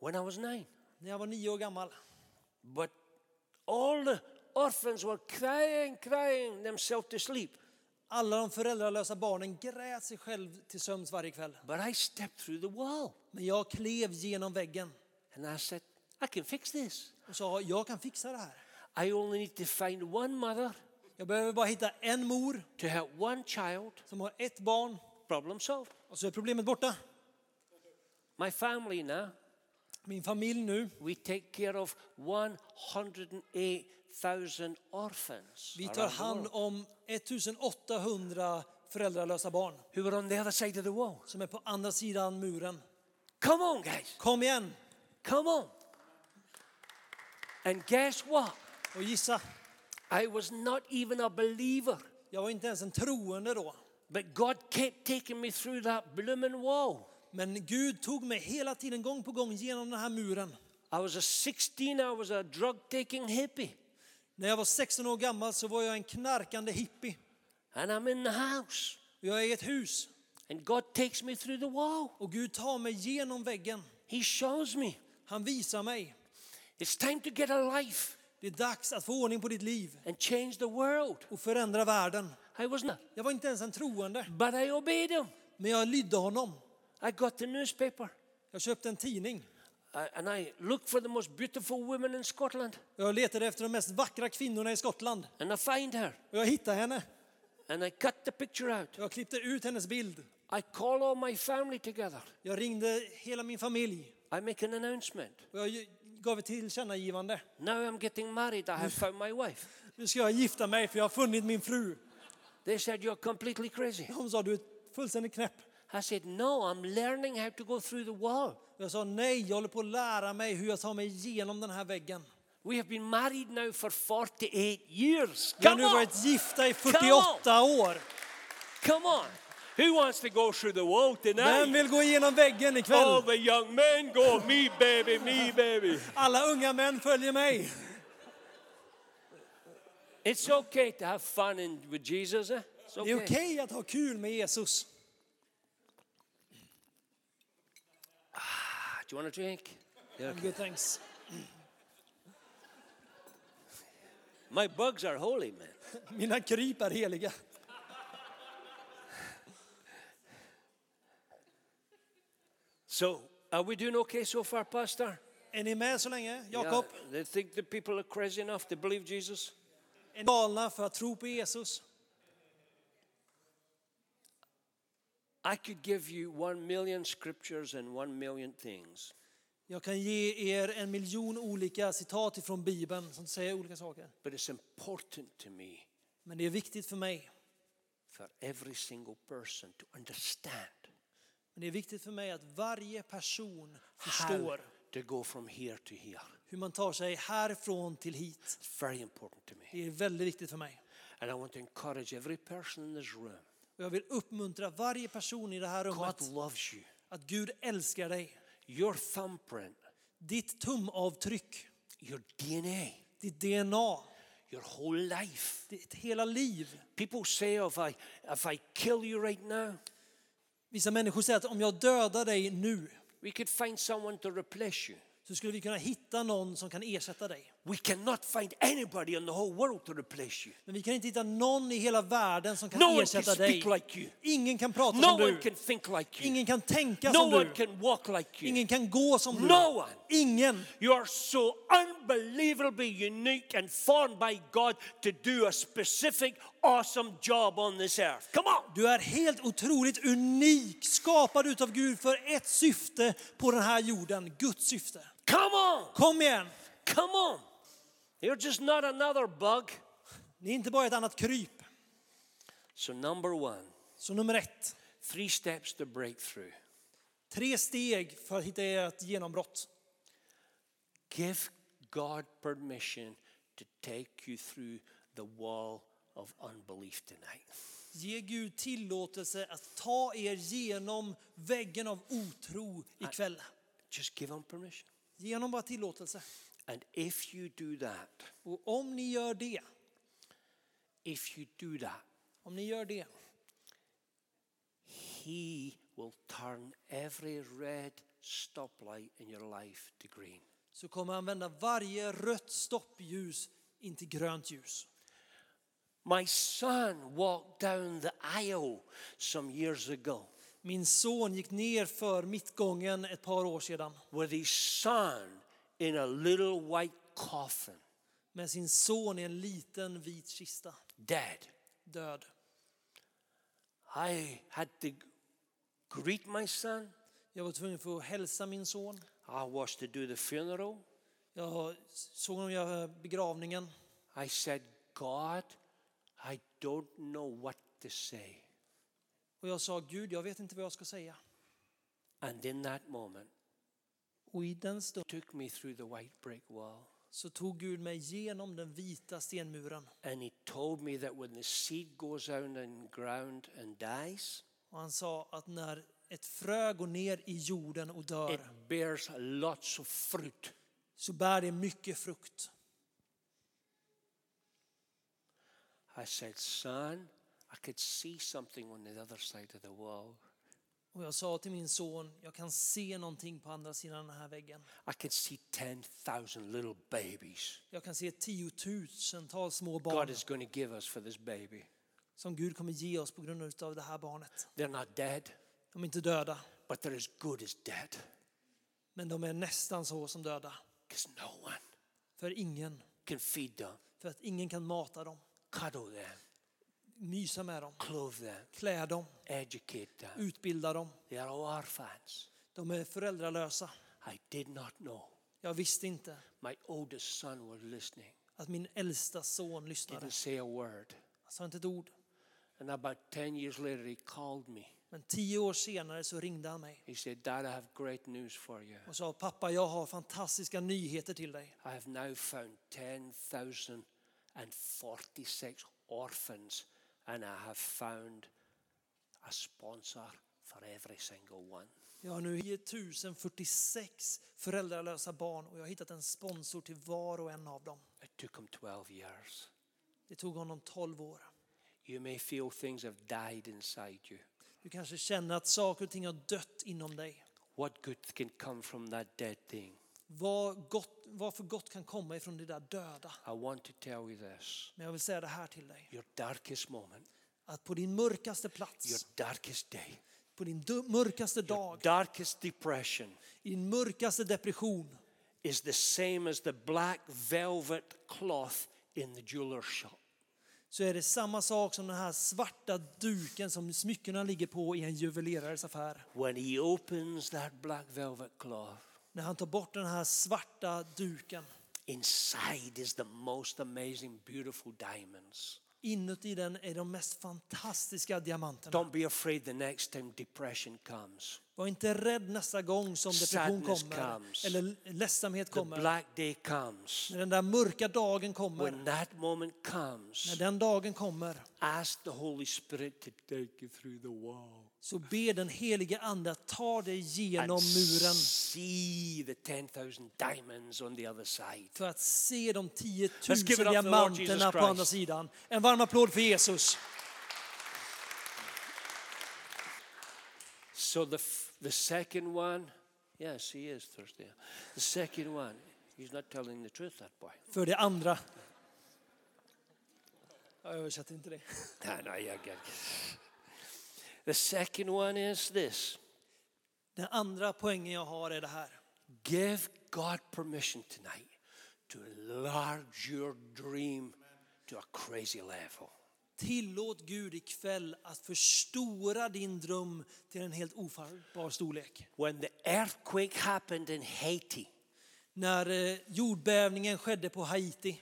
Speaker 1: when I was nine.
Speaker 2: när jag var nio år gammal.
Speaker 1: But all the orphans were crying, crying themselves to sleep.
Speaker 2: Alla de föräldralösa barnen grät sig själv till sömns varje kväll.
Speaker 1: But I stepped through the wall
Speaker 2: Men jag klev genom väggen
Speaker 1: and I said, I can fix this.
Speaker 2: och sa jag kan fixa det här.
Speaker 1: I only need to find one mother
Speaker 2: Jag behöver bara hitta en mor
Speaker 1: to help one child.
Speaker 2: som har ett barn
Speaker 1: Problem solved.
Speaker 2: och så är problemet borta.
Speaker 1: My family now,
Speaker 2: Min familj nu,
Speaker 1: we take care of 108,000 orphans
Speaker 2: vi tar
Speaker 1: around the
Speaker 2: hand
Speaker 1: world
Speaker 2: om 1800 föräldralösa barn
Speaker 1: who are on the other side of the wall.
Speaker 2: som är på andra sidan muren.
Speaker 1: Come on, guys.
Speaker 2: Kom igen
Speaker 1: Come on. And guess what?
Speaker 2: och gissa.
Speaker 1: I was not even a believer,
Speaker 2: Jag var inte ens en troende då.
Speaker 1: but God kept taking me through that blooming wall.
Speaker 2: Men Gud tog mig hela tiden, gång på gång, genom den här muren.
Speaker 1: I was a 16, I was a drug taking hippie,
Speaker 2: När jag var 16 år gammal så var jag en knarkande hippie.
Speaker 1: and I'm in the house,
Speaker 2: Och Jag är i ett hus
Speaker 1: and God takes me through the wall.
Speaker 2: och Gud tar mig genom väggen.
Speaker 1: He shows me
Speaker 2: Han visar mig.
Speaker 1: it's time to get a life
Speaker 2: Det är dags att få ordning på ditt liv
Speaker 1: and change the world.
Speaker 2: och förändra världen.
Speaker 1: I was not,
Speaker 2: Jag var inte ens en troende,
Speaker 1: but I obeyed him.
Speaker 2: men jag lydde honom.
Speaker 1: I got the newspaper,
Speaker 2: Jag köpte en tidning.
Speaker 1: uh, and I looked for the most beautiful women in Scotland,
Speaker 2: Jag letade efter de mest vackra kvinnorna i Skottland.
Speaker 1: and I find her,
Speaker 2: Och jag hittade henne.
Speaker 1: and I cut the picture out.
Speaker 2: Jag klippte ut hennes bild.
Speaker 1: I call all my family together.
Speaker 2: Jag ringde hela min familj.
Speaker 1: I make an announcement.
Speaker 2: Och jag gav ett tillkännagivande.
Speaker 1: Now I'm getting married. I have found my wife.
Speaker 2: Nu ska jag gifta mig för jag har funnit min fru.
Speaker 1: They said, You're completely crazy.
Speaker 2: De sa du är fullständigt knäpp.
Speaker 1: I said, No, I'm learning how to go through the wall.
Speaker 2: Jag sa nej, jag håller på att lära mig hur jag tar mig igenom den här väggen.
Speaker 1: We have been married now for 48 years.
Speaker 2: Vi har
Speaker 1: Come
Speaker 2: nu
Speaker 1: on!
Speaker 2: varit gifta i 48 år.
Speaker 1: Come on! Who wants to go through the wall
Speaker 2: Vem
Speaker 1: tonight?
Speaker 2: vill gå igenom väggen
Speaker 1: All
Speaker 2: ikväll?
Speaker 1: the young men go, Me, baby, me, baby.
Speaker 2: Alla unga män följer mig.
Speaker 1: It's okay to have fun in, with Jesus. Eh? It's
Speaker 2: Det är okej
Speaker 1: okay.
Speaker 2: att ha kul med Jesus.
Speaker 1: Ah, Do you want a drink?
Speaker 2: I'm Good thanks.
Speaker 1: My bugs are holy, man.
Speaker 2: Mina kryp är heliga.
Speaker 1: So, are we doing okay so far, Pastor?
Speaker 2: Är ni med så länge?
Speaker 1: Yeah,
Speaker 2: Jakob?
Speaker 1: they think the people are crazy enough to believe Jesus.
Speaker 2: Är ni galna för att tro på Jesus?
Speaker 1: I could give you one million scriptures and one million things.
Speaker 2: Jag kan ge er en miljon olika citat ifrån Bibeln som säger olika saker.
Speaker 1: But it's important to me
Speaker 2: Men det är viktigt för mig.
Speaker 1: for every single person to understand
Speaker 2: Men det är viktigt för mig att varje person
Speaker 1: how
Speaker 2: förstår
Speaker 1: to go from here to here.
Speaker 2: hur man tar sig härifrån till hit.
Speaker 1: It's very important to me.
Speaker 2: Det är väldigt viktigt för mig.
Speaker 1: And I want to encourage every person in this room
Speaker 2: Och jag vill uppmuntra varje person i det här
Speaker 1: God
Speaker 2: rummet
Speaker 1: loves you.
Speaker 2: att Gud älskar dig.
Speaker 1: Your thumbprint,
Speaker 2: Ditt tumavtryck,
Speaker 1: your DNA,
Speaker 2: ditt DNA,
Speaker 1: your whole life.
Speaker 2: ditt hela liv.
Speaker 1: People say, if I, if I kill you right now,
Speaker 2: Vissa människor säger att om jag dödar dig nu
Speaker 1: we could find someone to replace you.
Speaker 2: så skulle vi kunna hitta någon som kan ersätta dig.
Speaker 1: We cannot find anybody in the whole world to replace you.
Speaker 2: Men vi kan inte hitta någon i hela världen som kan
Speaker 1: No one can
Speaker 2: ersätta dig.
Speaker 1: speak like you.
Speaker 2: Ingen kan prata
Speaker 1: No
Speaker 2: som
Speaker 1: one
Speaker 2: du.
Speaker 1: can think like you.
Speaker 2: Ingen kan tänka
Speaker 1: No
Speaker 2: som
Speaker 1: one
Speaker 2: du.
Speaker 1: can walk like you.
Speaker 2: Ingen kan gå som du.
Speaker 1: No one.
Speaker 2: Ingen.
Speaker 1: You are so unbelievably unique and formed by God to do a specific, awesome job on this earth. Come on.
Speaker 2: Du är helt otroligt unik, skapad utav Gud för ett syfte på den här jorden, Guds syfte.
Speaker 1: Come on.
Speaker 2: Kom igen!
Speaker 1: Come on. You're just not another bug.
Speaker 2: Ni är inte bara ett annat kryp.
Speaker 1: So, number one,
Speaker 2: Så nummer ett,
Speaker 1: three steps to breakthrough
Speaker 2: tre steg för att hitta ert genombrott.
Speaker 1: give God permission to take you through the wall of unbelief tonight.
Speaker 2: Ge Gud tillåtelse att ta er genom väggen av otro ikväll.
Speaker 1: Just give Him permission.
Speaker 2: Ge honom bara tillåtelse.
Speaker 1: And if you do that,
Speaker 2: Och om ni gör det,
Speaker 1: if you do that,
Speaker 2: om ni gör det,
Speaker 1: He will turn every red stoplight in your life to green.
Speaker 2: så kommer han vända varje rött stoppljus in till grönt ljus.
Speaker 1: My son walked down the aisle some years ago
Speaker 2: Min son gick ner för mittgången ett par år sedan
Speaker 1: with his son in a little white coffin,
Speaker 2: med sin son i en liten vit kista,
Speaker 1: dead.
Speaker 2: död.
Speaker 1: I had to greet my son.
Speaker 2: Jag var tvungen för att hälsa min son.
Speaker 1: I was to do the funeral.
Speaker 2: Jag såg honom göra begravningen.
Speaker 1: I said, God, I don't know what to say.
Speaker 2: Och jag sa, Gud, jag vet inte vad jag ska säga.
Speaker 1: And in that moment,
Speaker 2: Och i den stunden
Speaker 1: took me through the white brick wall.
Speaker 2: så tog Gud mig genom den vita stenmuren.
Speaker 1: And he told me that when the seed goes down in ground and dies,
Speaker 2: Och han sa att när ett frö går ner i jorden och
Speaker 1: it
Speaker 2: dör
Speaker 1: bears lots of fruit.
Speaker 2: så bär det mycket frukt.
Speaker 1: I said, Son, I could see something on the other side of the wall.
Speaker 2: Och jag sa till min son, jag kan se någonting på andra sidan den här väggen.
Speaker 1: I could see 10,000 little babies
Speaker 2: Jag kan se tiotusentals små
Speaker 1: God
Speaker 2: barn
Speaker 1: is going to give us for this baby.
Speaker 2: som Gud kommer ge oss på grund av det här barnet.
Speaker 1: They're not dead,
Speaker 2: De är inte döda,
Speaker 1: but they're as good as dead.
Speaker 2: men de är nästan så som döda.
Speaker 1: Because no one
Speaker 2: För ingen,
Speaker 1: can feed them,
Speaker 2: för att ingen kan mata dem,
Speaker 1: cuddle them,
Speaker 2: mysa med dem,
Speaker 1: clothe them,
Speaker 2: klä dem,
Speaker 1: educate them.
Speaker 2: utbilda dem.
Speaker 1: They are orphans.
Speaker 2: De är föräldralösa.
Speaker 1: I did not know.
Speaker 2: Jag visste inte
Speaker 1: My oldest son was listening.
Speaker 2: att min äldsta son lyssnade.
Speaker 1: didn't say a word.
Speaker 2: Han sa inte ett ord.
Speaker 1: And about 10 years later, he called me.
Speaker 2: Men tio år senare så ringde han mig
Speaker 1: He said, Dad, I have great news for you.
Speaker 2: och sa pappa, jag har fantastiska nyheter till dig.
Speaker 1: I have now found 10,046 orphans, and I have found a sponsor for every single one.
Speaker 2: Jag har nu 1046 föräldralösa barn och jag har hittat en sponsor till var och en av dem.
Speaker 1: It took him 12 years.
Speaker 2: Det tog honom 12 år.
Speaker 1: You may feel things have died inside you.
Speaker 2: Du kanske känner att saker och ting har dött inom dig.
Speaker 1: What good can come from that dead thing?
Speaker 2: Vad, gott, vad för gott kan komma ifrån det där döda?
Speaker 1: I want to tell you this
Speaker 2: Men jag vill säga det här till dig.
Speaker 1: your darkest moment,
Speaker 2: Att på din mörkaste
Speaker 1: your
Speaker 2: plats,
Speaker 1: darkest day,
Speaker 2: på din dö- mörkaste
Speaker 1: your
Speaker 2: dag,
Speaker 1: darkest depression.
Speaker 2: i din mörkaste depression
Speaker 1: is the same as the black velvet cloth in the jeweler's shop.
Speaker 2: så är det samma sak som den här svarta duken som smyckena ligger på i en juvelerares affär.
Speaker 1: When he opens that black velvet cloth,
Speaker 2: När han tar bort den här svarta duken
Speaker 1: inside is the most amazing, beautiful diamonds.
Speaker 2: Inuti den är de mest fantastiska diamanterna.
Speaker 1: Don't be afraid the next time depression comes.
Speaker 2: Var inte rädd nästa gång som depression
Speaker 1: Sadness
Speaker 2: kommer
Speaker 1: comes.
Speaker 2: eller ledsamhet
Speaker 1: The
Speaker 2: kommer.
Speaker 1: black day comes.
Speaker 2: När den där mörka dagen kommer,
Speaker 1: When that moment
Speaker 2: när
Speaker 1: comes,
Speaker 2: den dagen kommer
Speaker 1: ask the Holy Spirit to take you through the wall.
Speaker 2: så ber den helige ande att ta dig
Speaker 1: And
Speaker 2: genom muren
Speaker 1: see the 10,000 diamonds on the other side.
Speaker 2: för att se de 10 000
Speaker 1: Let's give it up for the Lord Jesus
Speaker 2: diamanterna på
Speaker 1: Christ.
Speaker 2: andra sidan. En varm applåd för Jesus.
Speaker 1: So the, f- the second one, yes, he is Thursday. The second one He's not telling the truth, that boy.
Speaker 2: För det andra. Jag översätter inte det.
Speaker 1: No, no, yeah, yeah. The second one is this
Speaker 2: Den andra poängen jag har är det här.
Speaker 1: give God permission tonight to enlarge your dream to a crazy level.
Speaker 2: Tillåt Gud ikväll att förstora din dröm till en helt ofattbar storlek.
Speaker 1: When the earthquake happened in Haiti,
Speaker 2: När eh, jordbävningen skedde på Haiti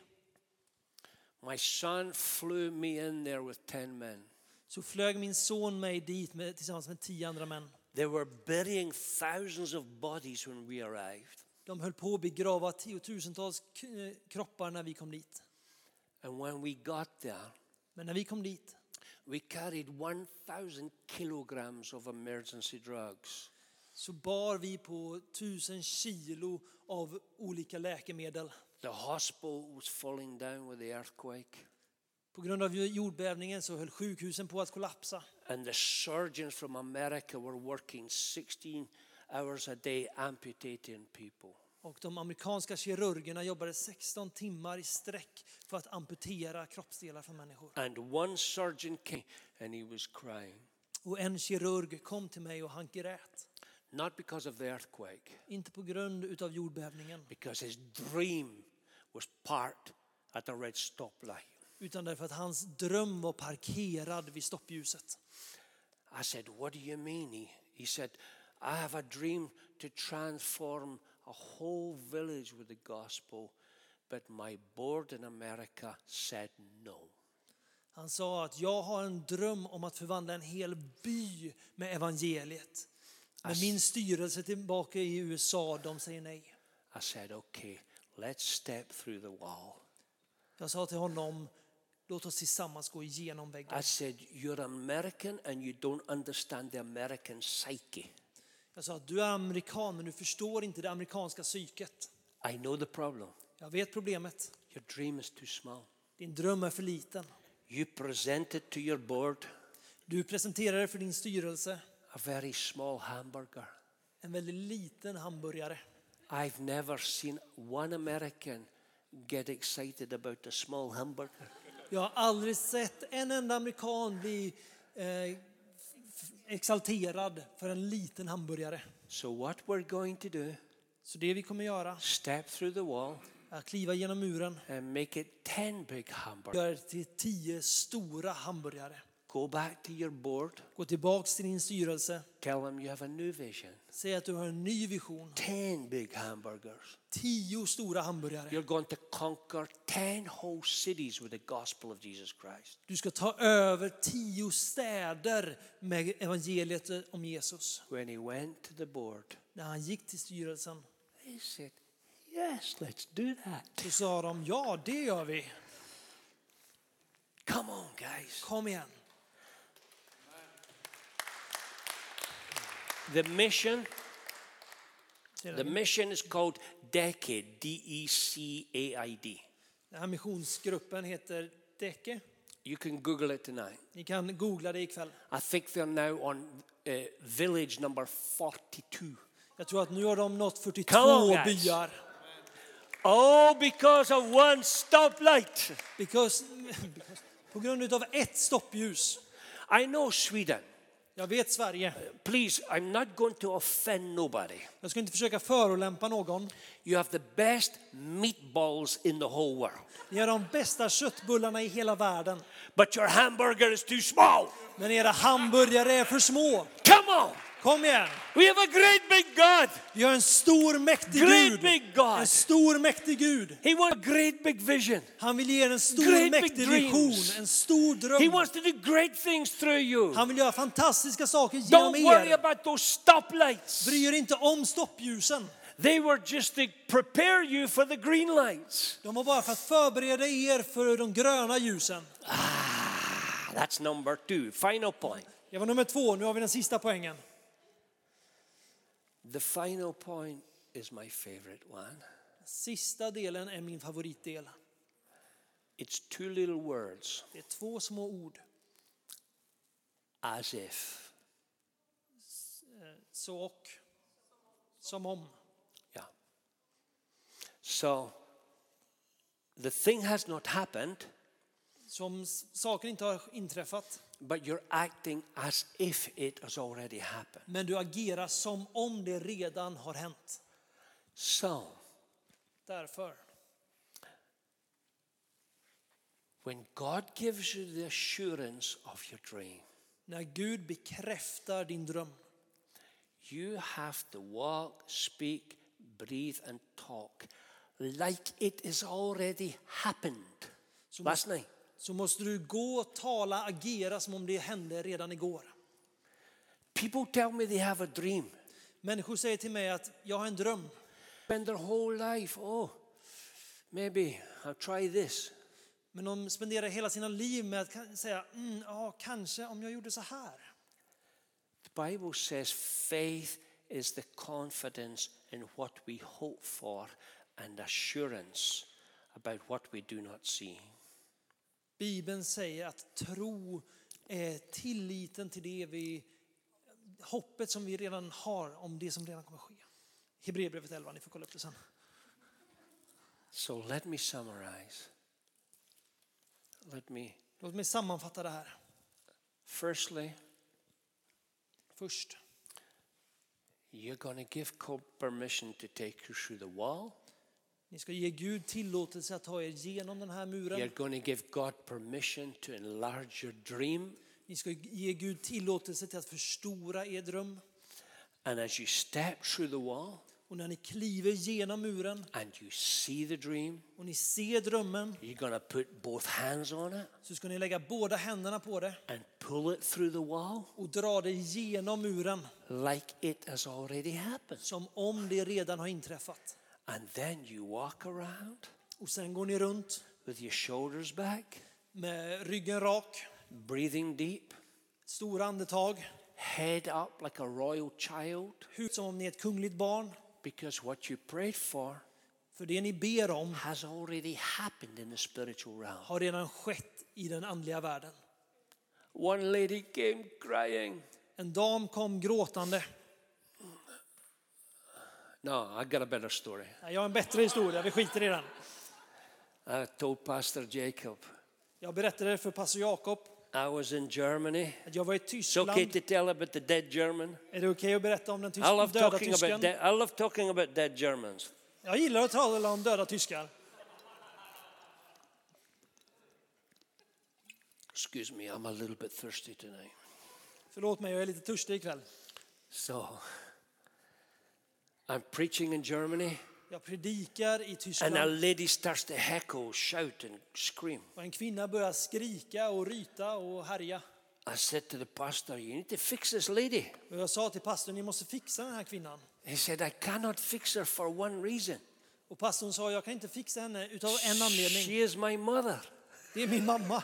Speaker 1: my son flew me in there with 10 men.
Speaker 2: så flög min son mig dit med, tillsammans med tio andra män.
Speaker 1: They were burying thousands of bodies when we arrived.
Speaker 2: De höll på att begrava tiotusentals k- eh, kroppar när vi kom dit.
Speaker 1: And when we got there,
Speaker 2: Men när vi kom dit
Speaker 1: we carried 1,000 kilograms of emergency drugs.
Speaker 2: så bar vi på tusen kilo av olika läkemedel.
Speaker 1: The hospital was falling down with the earthquake.
Speaker 2: På grund av jordbävningen så höll sjukhusen på att kollapsa.
Speaker 1: And the surgeons from America were working 16 hours a day amputating people.
Speaker 2: Och de amerikanska kirurgerna jobbade 16 timmar i sträck för att amputera kroppsdelar från människor.
Speaker 1: And one surgeon came and he was crying,
Speaker 2: Och en kirurg kom till mig och han grät.
Speaker 1: not because of the earthquake,
Speaker 2: Inte på grund utav jordbävningen,
Speaker 1: because his dream was parked at a red stoplight.
Speaker 2: utan därför att hans dröm var parkerad vid stoppljuset.
Speaker 1: I said, What do you mean? He, he said, I have a dream to transform a whole village with the gospel, but my board in America said no.
Speaker 2: Han sa att jag har en dröm om att förvandla en hel by med evangeliet. Men min styrelse tillbaka i USA, de säger nej.
Speaker 1: I said, Okay, let's step through the wall.
Speaker 2: Jag sa till honom, låt oss tillsammans gå igenom väggen.
Speaker 1: I said, You're American and you don't understand the American psyche.
Speaker 2: Jag sa att du är amerikan men du förstår inte det amerikanska psyket.
Speaker 1: I know the problem.
Speaker 2: Jag vet problemet.
Speaker 1: Your dream is too small.
Speaker 2: Din dröm är för liten.
Speaker 1: You present it to your board
Speaker 2: Du presenterar det för din styrelse
Speaker 1: a very small hamburger.
Speaker 2: en väldigt liten hamburgare.
Speaker 1: I've never seen one American get excited about a small hamburger.
Speaker 2: Jag har aldrig sett en enda amerikan bli eh, f- f- exalterad för en liten hamburgare.
Speaker 1: So, what we're going to do,
Speaker 2: Så det vi kommer göra
Speaker 1: step through the wall
Speaker 2: är att kliva genom muren
Speaker 1: and make it 10 big hamburgers.
Speaker 2: göra det till tio stora hamburgare.
Speaker 1: Go back to your board,
Speaker 2: Gå tillbaks till din styrelse,
Speaker 1: tell them you have a new vision.
Speaker 2: säg att du har en ny vision.
Speaker 1: 10 big hamburgers.
Speaker 2: Tio stora hamburgare.
Speaker 1: You're going to conquer 10 whole cities with the gospel of Jesus Christ.
Speaker 2: Du ska ta över tio städer med evangeliet om Jesus.
Speaker 1: When he went to the board,
Speaker 2: När han gick till styrelsen
Speaker 1: he said, Yes, let's do that.
Speaker 2: så sa de ja, det gör vi.
Speaker 1: Come on, guys.
Speaker 2: Kom igen.
Speaker 1: The mission,
Speaker 2: Det är
Speaker 1: the
Speaker 2: den-
Speaker 1: mission is called Decade, D E C A I D.
Speaker 2: Den här missionsgruppen heter Deke.
Speaker 1: You can Google it tonight.
Speaker 2: Ni kan googla det ikväll.
Speaker 1: I think they're now on uh, village number 42.
Speaker 2: Jag tror att nu har de nått 42
Speaker 1: Come on, guys.
Speaker 2: byar.
Speaker 1: Oh, because of one stoplight.
Speaker 2: Because, because, på grund av ett stoppljus.
Speaker 1: I know Sweden.
Speaker 2: Jag vet Sverige.
Speaker 1: Please, I'm not going to offend nobody.
Speaker 2: Jag ska inte försöka förolämpa någon.
Speaker 1: You have the best meatballs in the whole world,
Speaker 2: Ni har de bästa köttbullarna i hela världen.
Speaker 1: but your hamburger is too small.
Speaker 2: Men era hamburgare är för små.
Speaker 1: Come on!
Speaker 2: Kom igen!
Speaker 1: We have a great big God.
Speaker 2: Vi har en stor mäktig
Speaker 1: Great
Speaker 2: Gud.
Speaker 1: big God.
Speaker 2: En stor mäktig Gud.
Speaker 1: He wants a great big vision.
Speaker 2: Han vill ge er en stor
Speaker 1: Great big
Speaker 2: mäktig
Speaker 1: dreams.
Speaker 2: vision, en stor
Speaker 1: He
Speaker 2: dröm.
Speaker 1: wants to do great things through you.
Speaker 2: Han vill göra fantastiska saker genom
Speaker 1: Don't worry
Speaker 2: er.
Speaker 1: about those stoplights.
Speaker 2: Bry er inte om stoppljusen.
Speaker 1: They were just to prepare you for the green lights.
Speaker 2: De var bara för att förbereda er för de gröna ljusen.
Speaker 1: Ah, That's number two. Final point.
Speaker 2: Det var nummer två, nu har vi den sista poängen.
Speaker 1: The final point is my favorite one.
Speaker 2: Sista delen är min favoritdel.
Speaker 1: It's two little words
Speaker 2: Det är två små ord.
Speaker 1: as if.
Speaker 2: Så och. Som om.
Speaker 1: Yeah. So the thing has not happened,
Speaker 2: Som s- saker inte har inträffat,
Speaker 1: but you're acting as if it has already happened.
Speaker 2: men du agerar som om det redan har hänt.
Speaker 1: So
Speaker 2: Därför,
Speaker 1: when God gives you the assurance of your dream,
Speaker 2: när Gud bekräftar din dröm
Speaker 1: you have to walk, speak, breathe, and talk like it is already happened. Last night.
Speaker 2: så måste du gå, tala, agera som om det hände redan igår.
Speaker 1: People tell me they have a dream.
Speaker 2: Människor säger till mig att jag har en dröm.
Speaker 1: Spend their whole life, oh, maybe I'll try this.
Speaker 2: Men de spenderar hela sina liv med att kan- säga, mm, ja, kanske om jag gjorde så här.
Speaker 1: The Bible says faith is the confidence in what we hope for and assurance about what we do not see.
Speaker 2: Bibeln säger att tro är tilliten till det vi, hoppet som vi redan har om det som redan kommer ske. Hebreerbrevet 11, ni får kolla upp det sen.
Speaker 1: So let me summarize. Let me,
Speaker 2: Låt mig sammanfatta det här
Speaker 1: firstly,
Speaker 2: först.
Speaker 1: you're going to give God permission to take you through the wall.
Speaker 2: Ni ska ge Gud tillåtelse att ta er genom den här
Speaker 1: You're
Speaker 2: muren.
Speaker 1: going to give God permission to enlarge your dream.
Speaker 2: Ni ska ge Gud tillåtelse till att förstora er dröm.
Speaker 1: And as you step through the wall
Speaker 2: Och när ni kliver genom muren
Speaker 1: and you see the dream,
Speaker 2: och ni ser drömmen
Speaker 1: you're going to put both hands on it
Speaker 2: så ska ni lägga båda händerna på det
Speaker 1: and pull it through the wall
Speaker 2: och dra det genom muren
Speaker 1: like it has already happened.
Speaker 2: som om det redan har inträffat.
Speaker 1: And then you walk around
Speaker 2: Och sen går ni runt
Speaker 1: with your shoulders back,
Speaker 2: med ryggen rak,
Speaker 1: breathing deep,
Speaker 2: stora andetag,
Speaker 1: head up like a royal child,
Speaker 2: hud som om ni är ett kungligt barn.
Speaker 1: because what you prayed for
Speaker 2: För det ni ber om
Speaker 1: has already happened in the spiritual realm.
Speaker 2: har redan skett i den andliga världen.
Speaker 1: One lady came crying.
Speaker 2: En dam kom gråtande.
Speaker 1: No, I got a better story.
Speaker 2: Nej, Jag har en bättre historia, vi skiter i den.
Speaker 1: I told Pastor Jacob
Speaker 2: Jag berättade för pastor Jakob
Speaker 1: I was in Germany.
Speaker 2: att jag var i
Speaker 1: It's okay
Speaker 2: Tyskland.
Speaker 1: to tell about the dead German.
Speaker 2: Är det okej att berätta om den
Speaker 1: I
Speaker 2: tysk-
Speaker 1: love
Speaker 2: döda
Speaker 1: talking about
Speaker 2: tysken?
Speaker 1: dead. I love talking about dead Germans.
Speaker 2: Jag gillar att tala om döda tyskar.
Speaker 1: Excuse me, I'm a little bit thirsty tonight.
Speaker 2: Förlåt mig, jag är lite törstig ikväll.
Speaker 1: So I'm preaching in Germany,
Speaker 2: Jag predikar i
Speaker 1: and a
Speaker 2: Tyskland
Speaker 1: lady starts to heckle, shout, and scream.
Speaker 2: och en kvinna börjar skrika och ryta och härja.
Speaker 1: I said to the pastor, "You need to fix this lady."
Speaker 2: Och jag sa till pastorn, ni måste fixa den här kvinnan.
Speaker 1: He said, "I cannot fix her for one reason.
Speaker 2: Och pastorn sa, jag kan inte fixa henne utav en anledning.
Speaker 1: She is my mother."
Speaker 2: Det är min mamma.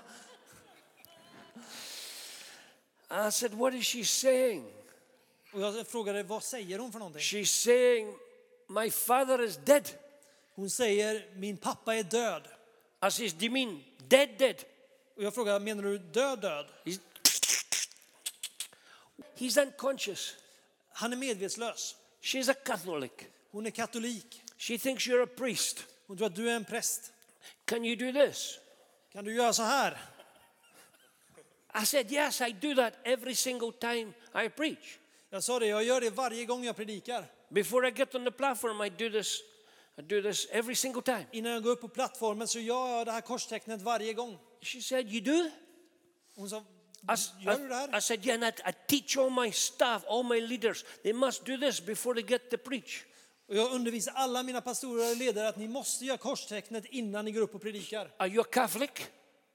Speaker 1: I said, "What is she saying?"
Speaker 2: Och jag frågade, vad säger hon för någonting?
Speaker 1: She's saying, My father is dead.
Speaker 2: Hon säger, min pappa är död.
Speaker 1: I says, Do you mean dead, dead?
Speaker 2: Och jag frågar, menar du död, död?
Speaker 1: He's, he's unconscious.
Speaker 2: Han är medvetslös.
Speaker 1: She's a Catholic.
Speaker 2: Hon är katolik.
Speaker 1: She thinks you're a priest.
Speaker 2: Hon tror att du är en präst.
Speaker 1: Can you do this?
Speaker 2: Kan du göra så här?
Speaker 1: I said, Yes, I do that every single time I preach.
Speaker 2: Jag sa det, jag gör det varje gång jag predikar.
Speaker 1: Before I get on the platform, I do this. I do this every single time.
Speaker 2: Innan jag går upp på plattformen så gör jag det här korstecknet varje gång.
Speaker 1: She said, You do?
Speaker 2: Hon sa,
Speaker 1: I, s-
Speaker 2: gör du det
Speaker 1: I
Speaker 2: här?
Speaker 1: said, Yeah, and I, I teach all my staff, all my leaders, they must do this before they get to preach.
Speaker 2: Och jag undervisar alla mina pastorer och ledare att ni måste göra korstecknet innan ni går upp och predikar.
Speaker 1: Are you a Catholic?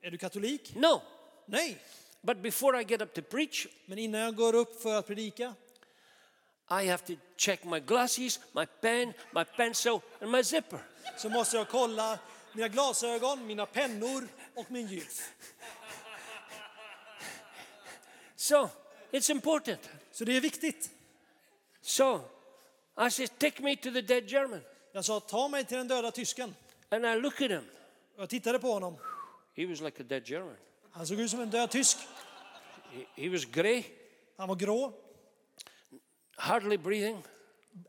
Speaker 2: Är du katolik?
Speaker 1: No.
Speaker 2: Nej.
Speaker 1: But before I get up to preach,
Speaker 2: Men innan jag går upp för att predika
Speaker 1: I have to check my glasses, my pen, my pencil, and my zipper.
Speaker 2: så måste jag kolla mina glasögon, mina pennor och min ljus.
Speaker 1: So it's important.
Speaker 2: Så det är viktigt.
Speaker 1: So I said, Take me to the dead German.
Speaker 2: Jag sa, ta mig till den döda tysken.
Speaker 1: And I look at him.
Speaker 2: Och Jag tittade på honom.
Speaker 1: He was like a dead German.
Speaker 2: Han såg ut som en död tysk.
Speaker 1: He, he was gray,
Speaker 2: Han var grå,
Speaker 1: hardly breathing.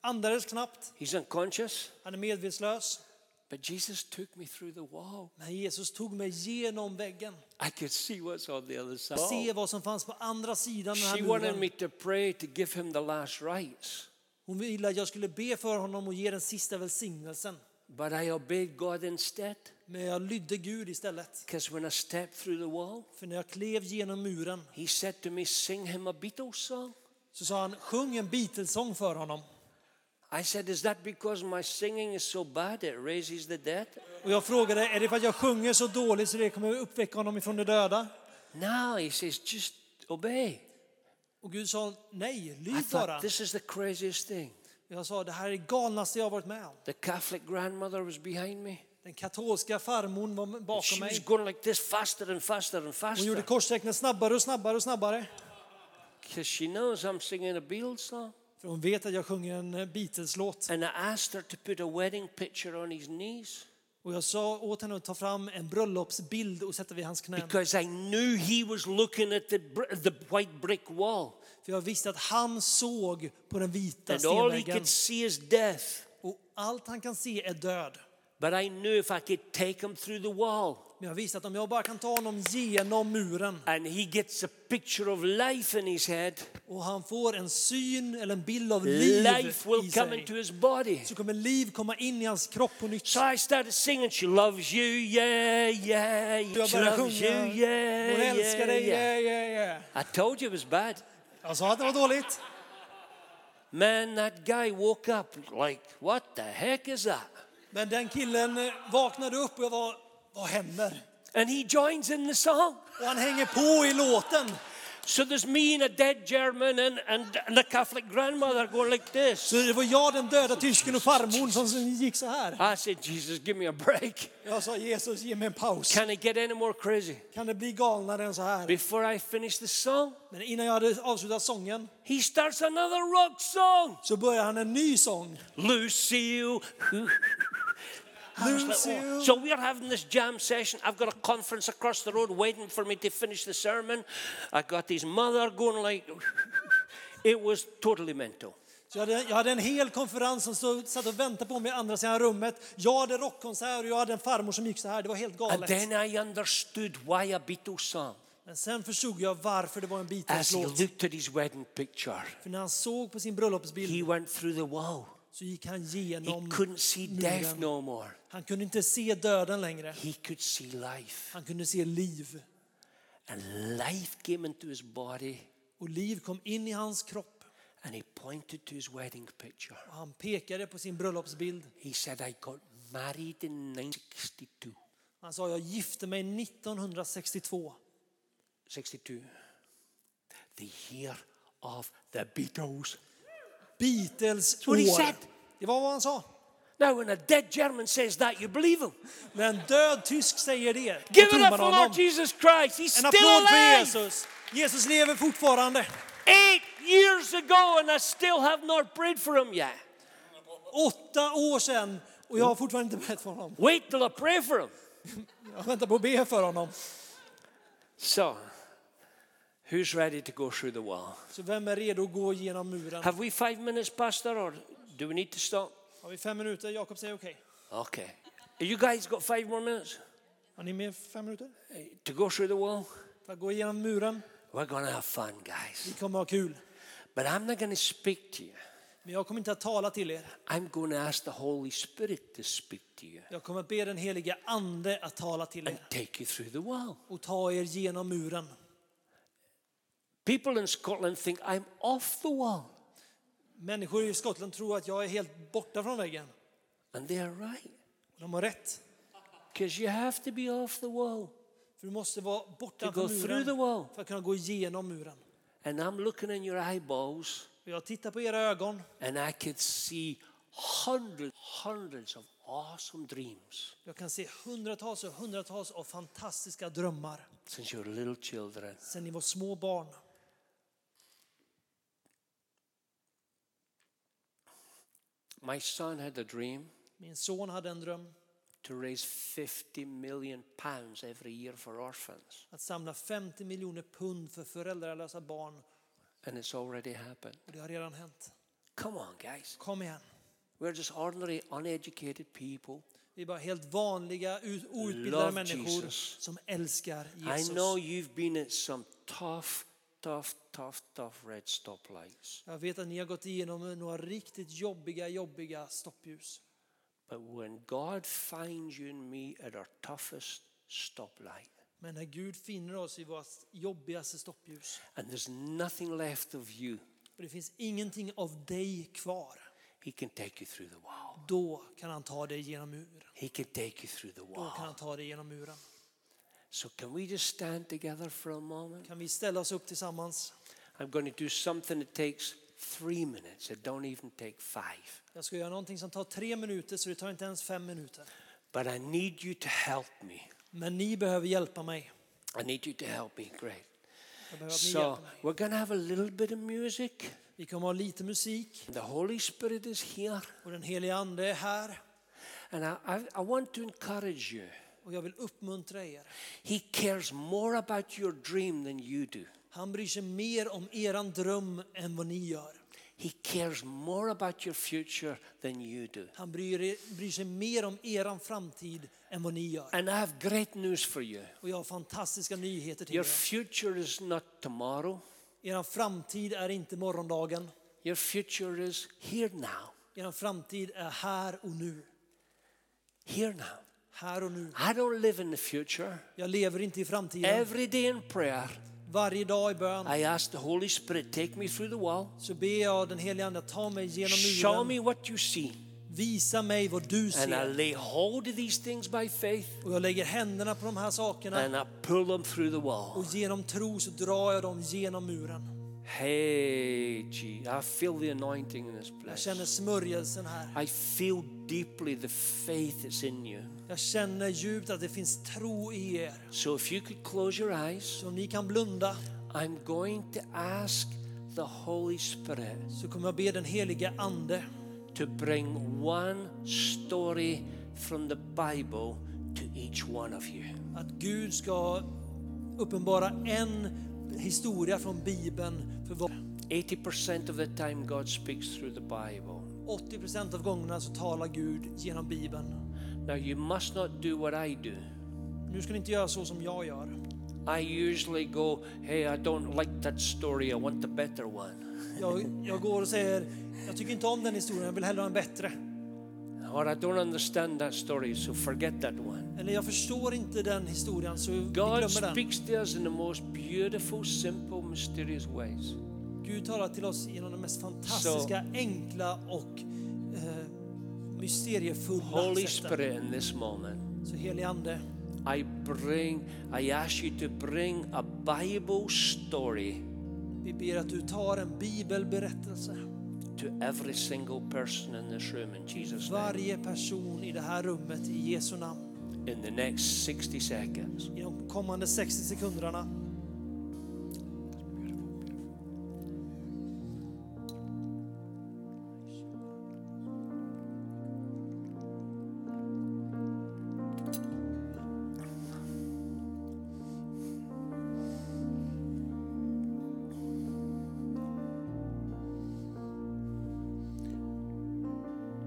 Speaker 2: andades knappt,
Speaker 1: He's unconscious.
Speaker 2: han är medvetslös.
Speaker 1: But Jesus took me through the wall.
Speaker 2: Men Jesus tog mig genom väggen.
Speaker 1: I could see what's on the other side. Oh,
Speaker 2: Se vad som fanns på andra sidan den här
Speaker 1: She wanted me
Speaker 2: muren.
Speaker 1: to pray to give him the last rites.
Speaker 2: Hon ville att jag skulle be för honom och ge den sista välsignelsen.
Speaker 1: But I obeyed God instead.
Speaker 2: Men jag lydde Gud istället.
Speaker 1: Because when I stepped through the wall,
Speaker 2: För när jag klev genom muren
Speaker 1: he said to me, Sing him a Beatles song.
Speaker 2: så sa han, sjung en Beatles-sång för honom.
Speaker 1: I said, Is that because my singing is so bad it raises the dead?
Speaker 2: Och jag frågade, är det för att jag sjunger så dåligt så det kommer att uppväcka honom ifrån de döda?
Speaker 1: No, he says, Just obey.
Speaker 2: Och Gud sa, nej,
Speaker 1: I
Speaker 2: lyd bara.
Speaker 1: thought, This is the craziest thing.
Speaker 2: Jag sa, det här är det galnaste jag har varit med om.
Speaker 1: The Catholic grandmother was behind me.
Speaker 2: Den katolska farmorn var bakom
Speaker 1: She was
Speaker 2: mig.
Speaker 1: going like this faster and faster and
Speaker 2: Hon
Speaker 1: faster.
Speaker 2: gjorde korstecknen snabbare och snabbare och snabbare.
Speaker 1: Because she knows I'm singing a Beatles song.
Speaker 2: För hon vet att jag sjunger en eh, Beatles-låt.
Speaker 1: And I asked her to put a wedding picture on his knees
Speaker 2: Och jag sa åt henne att ta fram en bröllopsbild och sätta vid hans knän.
Speaker 1: because I knew he was looking at the, br- the white brick wall.
Speaker 2: För jag visste att han såg på den vita
Speaker 1: And all he
Speaker 2: stenväggen.
Speaker 1: could see is death.
Speaker 2: Och allt han kan se är död.
Speaker 1: But I knew if I could take him through the wall
Speaker 2: Men jag visste att om jag bara kan ta honom genom muren
Speaker 1: and he gets a picture of life in his head,
Speaker 2: och han får en syn eller en bild av liv
Speaker 1: life will
Speaker 2: i
Speaker 1: come
Speaker 2: sig
Speaker 1: into his body.
Speaker 2: så kommer liv komma in i hans kropp på nytt.
Speaker 1: So I started singing, She loves you, yeah, yeah. yeah.
Speaker 2: Jag
Speaker 1: She
Speaker 2: började
Speaker 1: loves you,
Speaker 2: sjunga.
Speaker 1: yeah,
Speaker 2: Hon älskar
Speaker 1: yeah,
Speaker 2: dig,
Speaker 1: yeah.
Speaker 2: yeah, yeah, yeah.
Speaker 1: I told you it was bad.
Speaker 2: Jag sa att det var dåligt.
Speaker 1: Man, that guy woke up like, What the heck is that?
Speaker 2: Men den killen eh, vaknade upp och jag var, vad händer?
Speaker 1: And he joins in the song.
Speaker 2: Och han hänger på i låten.
Speaker 1: So there's me and a dead German and, and, and a Catholic grandmother going like this.
Speaker 2: Så det var jag, den döda tysken och farmor som som gick så här.
Speaker 1: I said, Jesus, give me a break.
Speaker 2: Jag sa Jesus, ge mig en paus.
Speaker 1: Can it get any more crazy?
Speaker 2: Kan det bli galnare än så här?
Speaker 1: Before I finish the song,
Speaker 2: Men innan jag hade avslutat sången
Speaker 1: he starts another rock song.
Speaker 2: så började han en ny sång.
Speaker 1: Lucille. I was like, oh.
Speaker 2: Lucille.
Speaker 1: So we're having this jam session. I've got a conference across the road waiting for me to finish the sermon. I got his mother going like, it was totally mental.
Speaker 2: Så jag, hade, jag hade en hel konferens som stod, satt och väntade på mig i andra sidan rummet. Jag hade rockkonsert och jag hade en farmor som gick så här. Det var helt
Speaker 1: And
Speaker 2: galet.
Speaker 1: then I understood why a Beatles song.
Speaker 2: Men sen förstod jag varför det var en
Speaker 1: As he
Speaker 2: Beatles-låt.
Speaker 1: looked at his wedding picture,
Speaker 2: För när han såg på sin
Speaker 1: he
Speaker 2: bröllopsbild
Speaker 1: went through the wall.
Speaker 2: så gick han
Speaker 1: He
Speaker 2: genom
Speaker 1: couldn't see death
Speaker 2: muren.
Speaker 1: no more.
Speaker 2: Han kunde inte se döden längre.
Speaker 1: He could see life.
Speaker 2: Han kunde se liv.
Speaker 1: And life came into his body
Speaker 2: Och liv kom in i hans kropp.
Speaker 1: and he pointed to his wedding picture.
Speaker 2: Och han pekade på sin bröllopsbild.
Speaker 1: He said, I got married in 1962.
Speaker 2: Han sa, jag gifte mig 1962.
Speaker 1: 62. The year of the Beatles.
Speaker 2: Beatles
Speaker 1: what he
Speaker 2: år.
Speaker 1: said.
Speaker 2: Det var vad han sa.
Speaker 1: Now, when a dead German says that, you believe him.
Speaker 2: När en död tysk säger det, då
Speaker 1: Give it
Speaker 2: tror
Speaker 1: up
Speaker 2: man
Speaker 1: for Lord
Speaker 2: honom.
Speaker 1: Jesus Christ. He's still
Speaker 2: En applåd för
Speaker 1: alive.
Speaker 2: Jesus. Jesus lever fortfarande.
Speaker 1: Eight years ago, and I still have not prayed for him yet.
Speaker 2: Åtta år sedan och jag har fortfarande inte bett för honom.
Speaker 1: Wait till I pray for him.
Speaker 2: Jag väntar på att be för honom.
Speaker 1: So, who's ready to go through the wall?
Speaker 2: Så vem är redo att gå genom muren?
Speaker 1: Have we five minutes, Pastor, or do we need to stop?
Speaker 2: Har vi fem minuter? Jakob säger okej.
Speaker 1: Okay. You guys got five more minutes
Speaker 2: Har ni mer fem minuter?
Speaker 1: eh, to go through the wall?
Speaker 2: För att gå igenom muren?
Speaker 1: We're going to have fun, guys.
Speaker 2: Vi kommer ha kul.
Speaker 1: But I'm not going to speak to you.
Speaker 2: Men jag kommer inte att tala till er.
Speaker 1: I'm going to ask the Holy Spirit to speak to you
Speaker 2: Jag kommer att be den heliga ande att tala till
Speaker 1: and
Speaker 2: er
Speaker 1: take you through the wall.
Speaker 2: och ta er genom muren.
Speaker 1: People in Scotland think I'm off the wall,
Speaker 2: Människor i Skottland tror att jag är helt borta från väggen.
Speaker 1: and they are right.
Speaker 2: De har rätt.
Speaker 1: Because you have to be off the wall.
Speaker 2: För du måste vara borta
Speaker 1: To go
Speaker 2: från
Speaker 1: through the wall.
Speaker 2: muren för att kunna gå igenom muren.
Speaker 1: And I'm looking in your eyeballs,
Speaker 2: Och jag tittar på era ögon
Speaker 1: and I could see hundreds, hundreds of awesome dreams
Speaker 2: jag kan se hundratals och hundratals av fantastiska drömmar
Speaker 1: since you were little children.
Speaker 2: sedan ni var små barn.
Speaker 1: My son had a dream
Speaker 2: Min son hade en dröm
Speaker 1: to raise 50 million pounds every year for orphans,
Speaker 2: att samla 50 miljoner pund för föräldralösa barn
Speaker 1: and it's already happened.
Speaker 2: och det har redan hänt.
Speaker 1: Come on, guys.
Speaker 2: Kom igen.
Speaker 1: We're just ordinary, uneducated people.
Speaker 2: Vi är bara helt vanliga, ut- outbildade
Speaker 1: Love
Speaker 2: människor
Speaker 1: Jesus.
Speaker 2: som älskar
Speaker 1: I
Speaker 2: Jesus.
Speaker 1: know you've been at some tough, tough, tough, tough red stoplights.
Speaker 2: Jag vet att ni har gått igenom några riktigt jobbiga, jobbiga stoppljus.
Speaker 1: But when God finds you and me at our toughest stoplight,
Speaker 2: Men när Gud finner oss i våra jobbigaste stoppljus
Speaker 1: and there's nothing left of you,
Speaker 2: och det finns ingenting av dig kvar,
Speaker 1: He can take you through the wall.
Speaker 2: då kan han ta dig genom muren.
Speaker 1: He can take you through the
Speaker 2: Då kan
Speaker 1: wall.
Speaker 2: han ta dig genom muren.
Speaker 1: So, can we just stand together for a moment?
Speaker 2: Kan vi ställa oss upp tillsammans?
Speaker 1: I'm going to do something that takes three minutes. It don't even take five.
Speaker 2: Jag ska göra någonting som tar tre minuter, så det tar inte ens fem minuter.
Speaker 1: But I need you to help me.
Speaker 2: Men ni behöver hjälpa mig.
Speaker 1: I need you to help me. Great.
Speaker 2: Jag behöver att ni
Speaker 1: So
Speaker 2: hjälper mig.
Speaker 1: we're going to have a little bit of music.
Speaker 2: Vi kommer ha lite musik
Speaker 1: The Holy Spirit is here.
Speaker 2: och den heliga Ande är här.
Speaker 1: And I, I, I want to encourage you.
Speaker 2: Och jag vill uppmuntra er.
Speaker 1: He cares more about your dream than you do.
Speaker 2: Han bryr sig mer om eran dröm än vad ni gör.
Speaker 1: He cares more about your future than you do.
Speaker 2: Han bryr, er- bryr sig mer om eran framtid än vad ni gör.
Speaker 1: And I have great news for you.
Speaker 2: Och jag har fantastiska nyheter till
Speaker 1: Your
Speaker 2: er.
Speaker 1: future is not tomorrow.
Speaker 2: Eran framtid är inte morgondagen.
Speaker 1: Your future is here now.
Speaker 2: Eran framtid är här och nu.
Speaker 1: Here now.
Speaker 2: Här och nu.
Speaker 1: I don't live in the future.
Speaker 2: Jag lever inte i framtiden.
Speaker 1: Every day in prayer,
Speaker 2: Varje dag i bön
Speaker 1: I ask the Holy Spirit, take me through the wall.
Speaker 2: så ber jag den heliga Ande att ta mig genom
Speaker 1: Show
Speaker 2: muren.
Speaker 1: me what you see.
Speaker 2: Visa mig vad du
Speaker 1: And I
Speaker 2: ser.
Speaker 1: lay hold of these things by faith
Speaker 2: Och jag lägger händerna på de här sakerna
Speaker 1: and I pull them through the
Speaker 2: och
Speaker 1: wall.
Speaker 2: genom tro så drar jag dem genom muren.
Speaker 1: Hey, gee, I feel the anointing in this
Speaker 2: Jag
Speaker 1: place.
Speaker 2: känner smörjelsen här.
Speaker 1: I feel deeply the faith that's in you.
Speaker 2: Jag känner djupt att det finns tro i er.
Speaker 1: So if you could close your eyes,
Speaker 2: Så om ni kan blunda
Speaker 1: I'm going to ask the Holy Spirit
Speaker 2: så kommer jag be den heliga Ande
Speaker 1: to bring one story from the Bible to each one of you.
Speaker 2: att Gud ska uppenbara en historia från Bibeln för var.
Speaker 1: 80% of the time, God speaks through the Bible.
Speaker 2: 80 av gångerna så talar Gud genom Bibeln.
Speaker 1: Now, you must not do what I do.
Speaker 2: Nu ska ni inte göra så som jag gör.
Speaker 1: I usually go, hey, I don't like that story, I want the better one.
Speaker 2: Jag, jag går och säger, jag tycker inte om den historien, jag vill hellre ha en bättre.
Speaker 1: Or I don't understand that story, so forget that one.
Speaker 2: Eller jag förstår inte den historien så vi
Speaker 1: God
Speaker 2: glömmer den.
Speaker 1: speaks to us in the most beautiful, simple, mysterious ways.
Speaker 2: Gud talar till oss genom de mest fantastiska, enkla och eh, mysteriefulla
Speaker 1: Holy
Speaker 2: sätten.
Speaker 1: Spirit, in this moment,
Speaker 2: Så helige Ande,
Speaker 1: I bring, I ask you to bring a Bible story
Speaker 2: vi ber att du tar en bibelberättelse
Speaker 1: to every single person in this room in Jesus'
Speaker 2: till
Speaker 1: name.
Speaker 2: varje person i det här rummet i Jesu namn.
Speaker 1: in the next 60 seconds.
Speaker 2: I de kommande 60 sekunderna.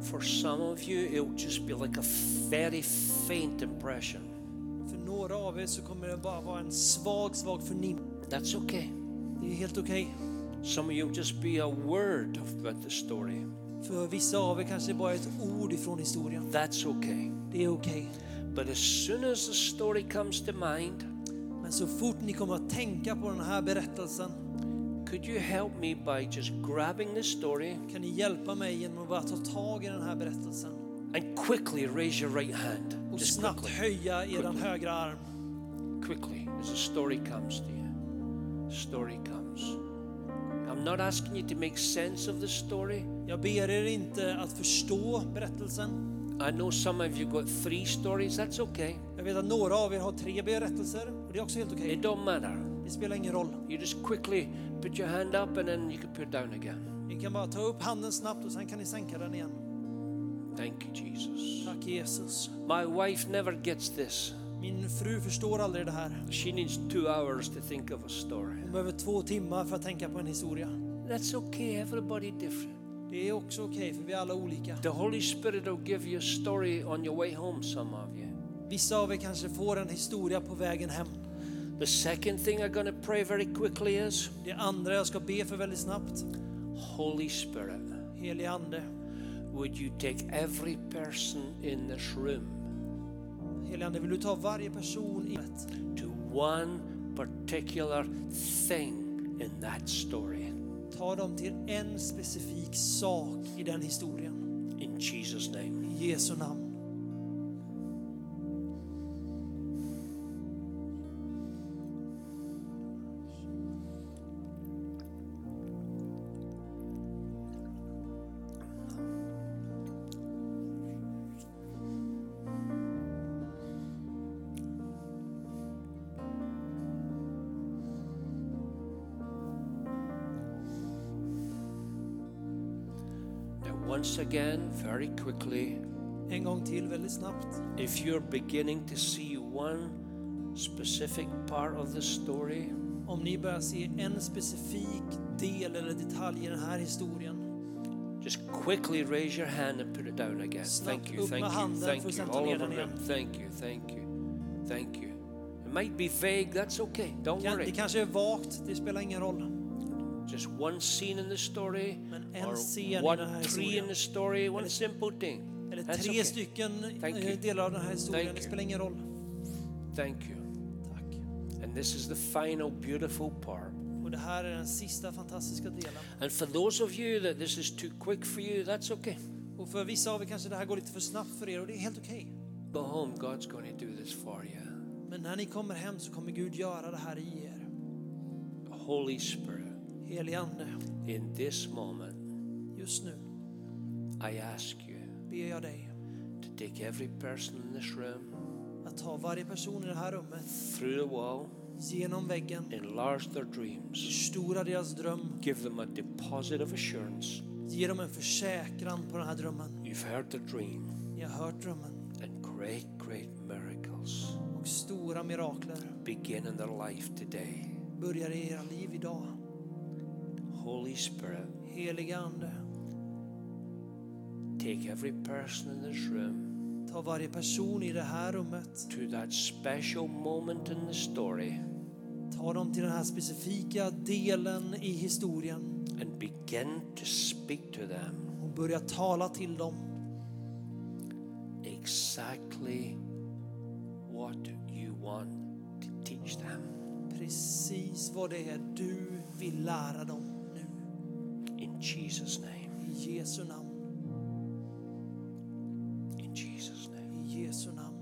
Speaker 1: For some of you, it'll just be like a very faint impression.
Speaker 2: För några av er så kommer det bara vara en svag, svag förnimmelse.
Speaker 1: That's okay.
Speaker 2: Det är helt okej.
Speaker 1: Some of you will just be a word about the story.
Speaker 2: För vissa av er kanske det bara är ett ord ifrån historien.
Speaker 1: That's okay.
Speaker 2: Det är okej.
Speaker 1: But as soon as the story comes to mind,
Speaker 2: Men så fort ni kommer att tänka på den här berättelsen
Speaker 1: could you help me by just grabbing the story
Speaker 2: kan ni hjälpa mig genom att bara ta tag i den här berättelsen
Speaker 1: and quickly raise your right hand?
Speaker 2: och
Speaker 1: Just
Speaker 2: snabbt
Speaker 1: quickly.
Speaker 2: höja er högra arm.
Speaker 1: Quickly, as the story comes to you. Story comes. I'm not asking you to make sense of the story.
Speaker 2: Jag ber er inte att förstå berättelsen.
Speaker 1: I know some of you got three stories. That's okay.
Speaker 2: Jag vet att några av er har tre berättelser och det är också helt okej.
Speaker 1: It don't matter.
Speaker 2: Det spelar ingen roll.
Speaker 1: You just quickly put your hand up and then you can put it down again.
Speaker 2: Ni kan bara ta upp handen snabbt och sen kan ni sänka den igen.
Speaker 1: Thank you, Jesus.
Speaker 2: Tack Jesus.
Speaker 1: My wife never gets this.
Speaker 2: Min fru förstår aldrig det här.
Speaker 1: She needs two hours to think of a story.
Speaker 2: Hon behöver två timmar för att tänka på en historia.
Speaker 1: That's okay. Everybody different.
Speaker 2: Det är också okej, för vi är alla olika.
Speaker 1: The Holy Spirit will give you a story on your way home, some of you.
Speaker 2: Vissa av er kanske får en historia på vägen hem.
Speaker 1: The second thing I'm going to pray very quickly is
Speaker 2: Det andra jag ska be för väldigt snabbt,
Speaker 1: Holy Spirit,
Speaker 2: helige Ande.
Speaker 1: would you take every person in this room
Speaker 2: Helige Ande, vill du ta varje person i livet
Speaker 1: to one particular thing in that story?
Speaker 2: Ta dem till en specifik sak i den historien.
Speaker 1: In Jesus' name.
Speaker 2: I Jesu namn.
Speaker 1: Now, once again, very quickly,
Speaker 2: En gång till väldigt snabbt.
Speaker 1: if you're beginning to see one specific part of the story,
Speaker 2: Om ni börjar se en specifik del eller detalj i den här historien.
Speaker 1: Just quickly raise your hand and put it down again.
Speaker 2: Snabbt
Speaker 1: Thank you,
Speaker 2: upp
Speaker 1: thank
Speaker 2: med
Speaker 1: you,
Speaker 2: handen
Speaker 1: thank
Speaker 2: för att
Speaker 1: you.
Speaker 2: sätta
Speaker 1: All
Speaker 2: ner
Speaker 1: over
Speaker 2: den
Speaker 1: the room.
Speaker 2: igen.
Speaker 1: Thank you, thank you, thank you. It might be vague, that's okay. Don't
Speaker 2: Kan- Det
Speaker 1: worry.
Speaker 2: kanske är vagt, det spelar ingen roll.
Speaker 1: Just one scene in the story,
Speaker 2: Men en
Speaker 1: or
Speaker 2: scen i den här
Speaker 1: one tree
Speaker 2: historien.
Speaker 1: in the story, one simple thing.
Speaker 2: Eller
Speaker 1: That's
Speaker 2: tre
Speaker 1: okay.
Speaker 2: stycken
Speaker 1: Thank
Speaker 2: eh,
Speaker 1: you.
Speaker 2: delar av den här historien,
Speaker 1: Thank
Speaker 2: det
Speaker 1: you.
Speaker 2: spelar ingen roll.
Speaker 1: Thank you.
Speaker 2: Tack.
Speaker 1: And this is the final beautiful part.
Speaker 2: Och det här är den sista fantastiska delen.
Speaker 1: And for those of you that this is too quick for you, that's okay.
Speaker 2: Och för vissa av er kanske det här går lite för snabbt för er och det är helt okej.
Speaker 1: Go home, God's going to do this for you.
Speaker 2: Men när ni kommer hem så kommer Gud göra det här i er.
Speaker 1: Holy Spirit,
Speaker 2: Helige Ande,
Speaker 1: in this moment,
Speaker 2: just nu
Speaker 1: I ask you.
Speaker 2: ber jag dig
Speaker 1: to take every person in this room
Speaker 2: att ta varje person i det här rummet
Speaker 1: through the wall,
Speaker 2: genom väggen,
Speaker 1: enlarge their dreams,
Speaker 2: förstora deras dröm,
Speaker 1: give them a deposit of assurance.
Speaker 2: ge dem en försäkran på den här drömmen.
Speaker 1: You've heard the dream,
Speaker 2: Ni har hört drömmen
Speaker 1: and great, great miracles
Speaker 2: och stora mirakler
Speaker 1: begin in their life today.
Speaker 2: börjar i era liv idag.
Speaker 1: Holy Spirit,
Speaker 2: Helige Ande,
Speaker 1: take every person in this room
Speaker 2: ta varje person i det här rummet,
Speaker 1: to that special moment in the story
Speaker 2: ta dem till den här specifika delen i historien
Speaker 1: and begin to speak to them
Speaker 2: och börja tala till dem
Speaker 1: exactly what you want to teach them.
Speaker 2: precis vad det är du vill lära dem nu.
Speaker 1: In Jesus' name.
Speaker 2: I Jesu namn,
Speaker 1: In Jesus' name.
Speaker 2: i Jesu namn.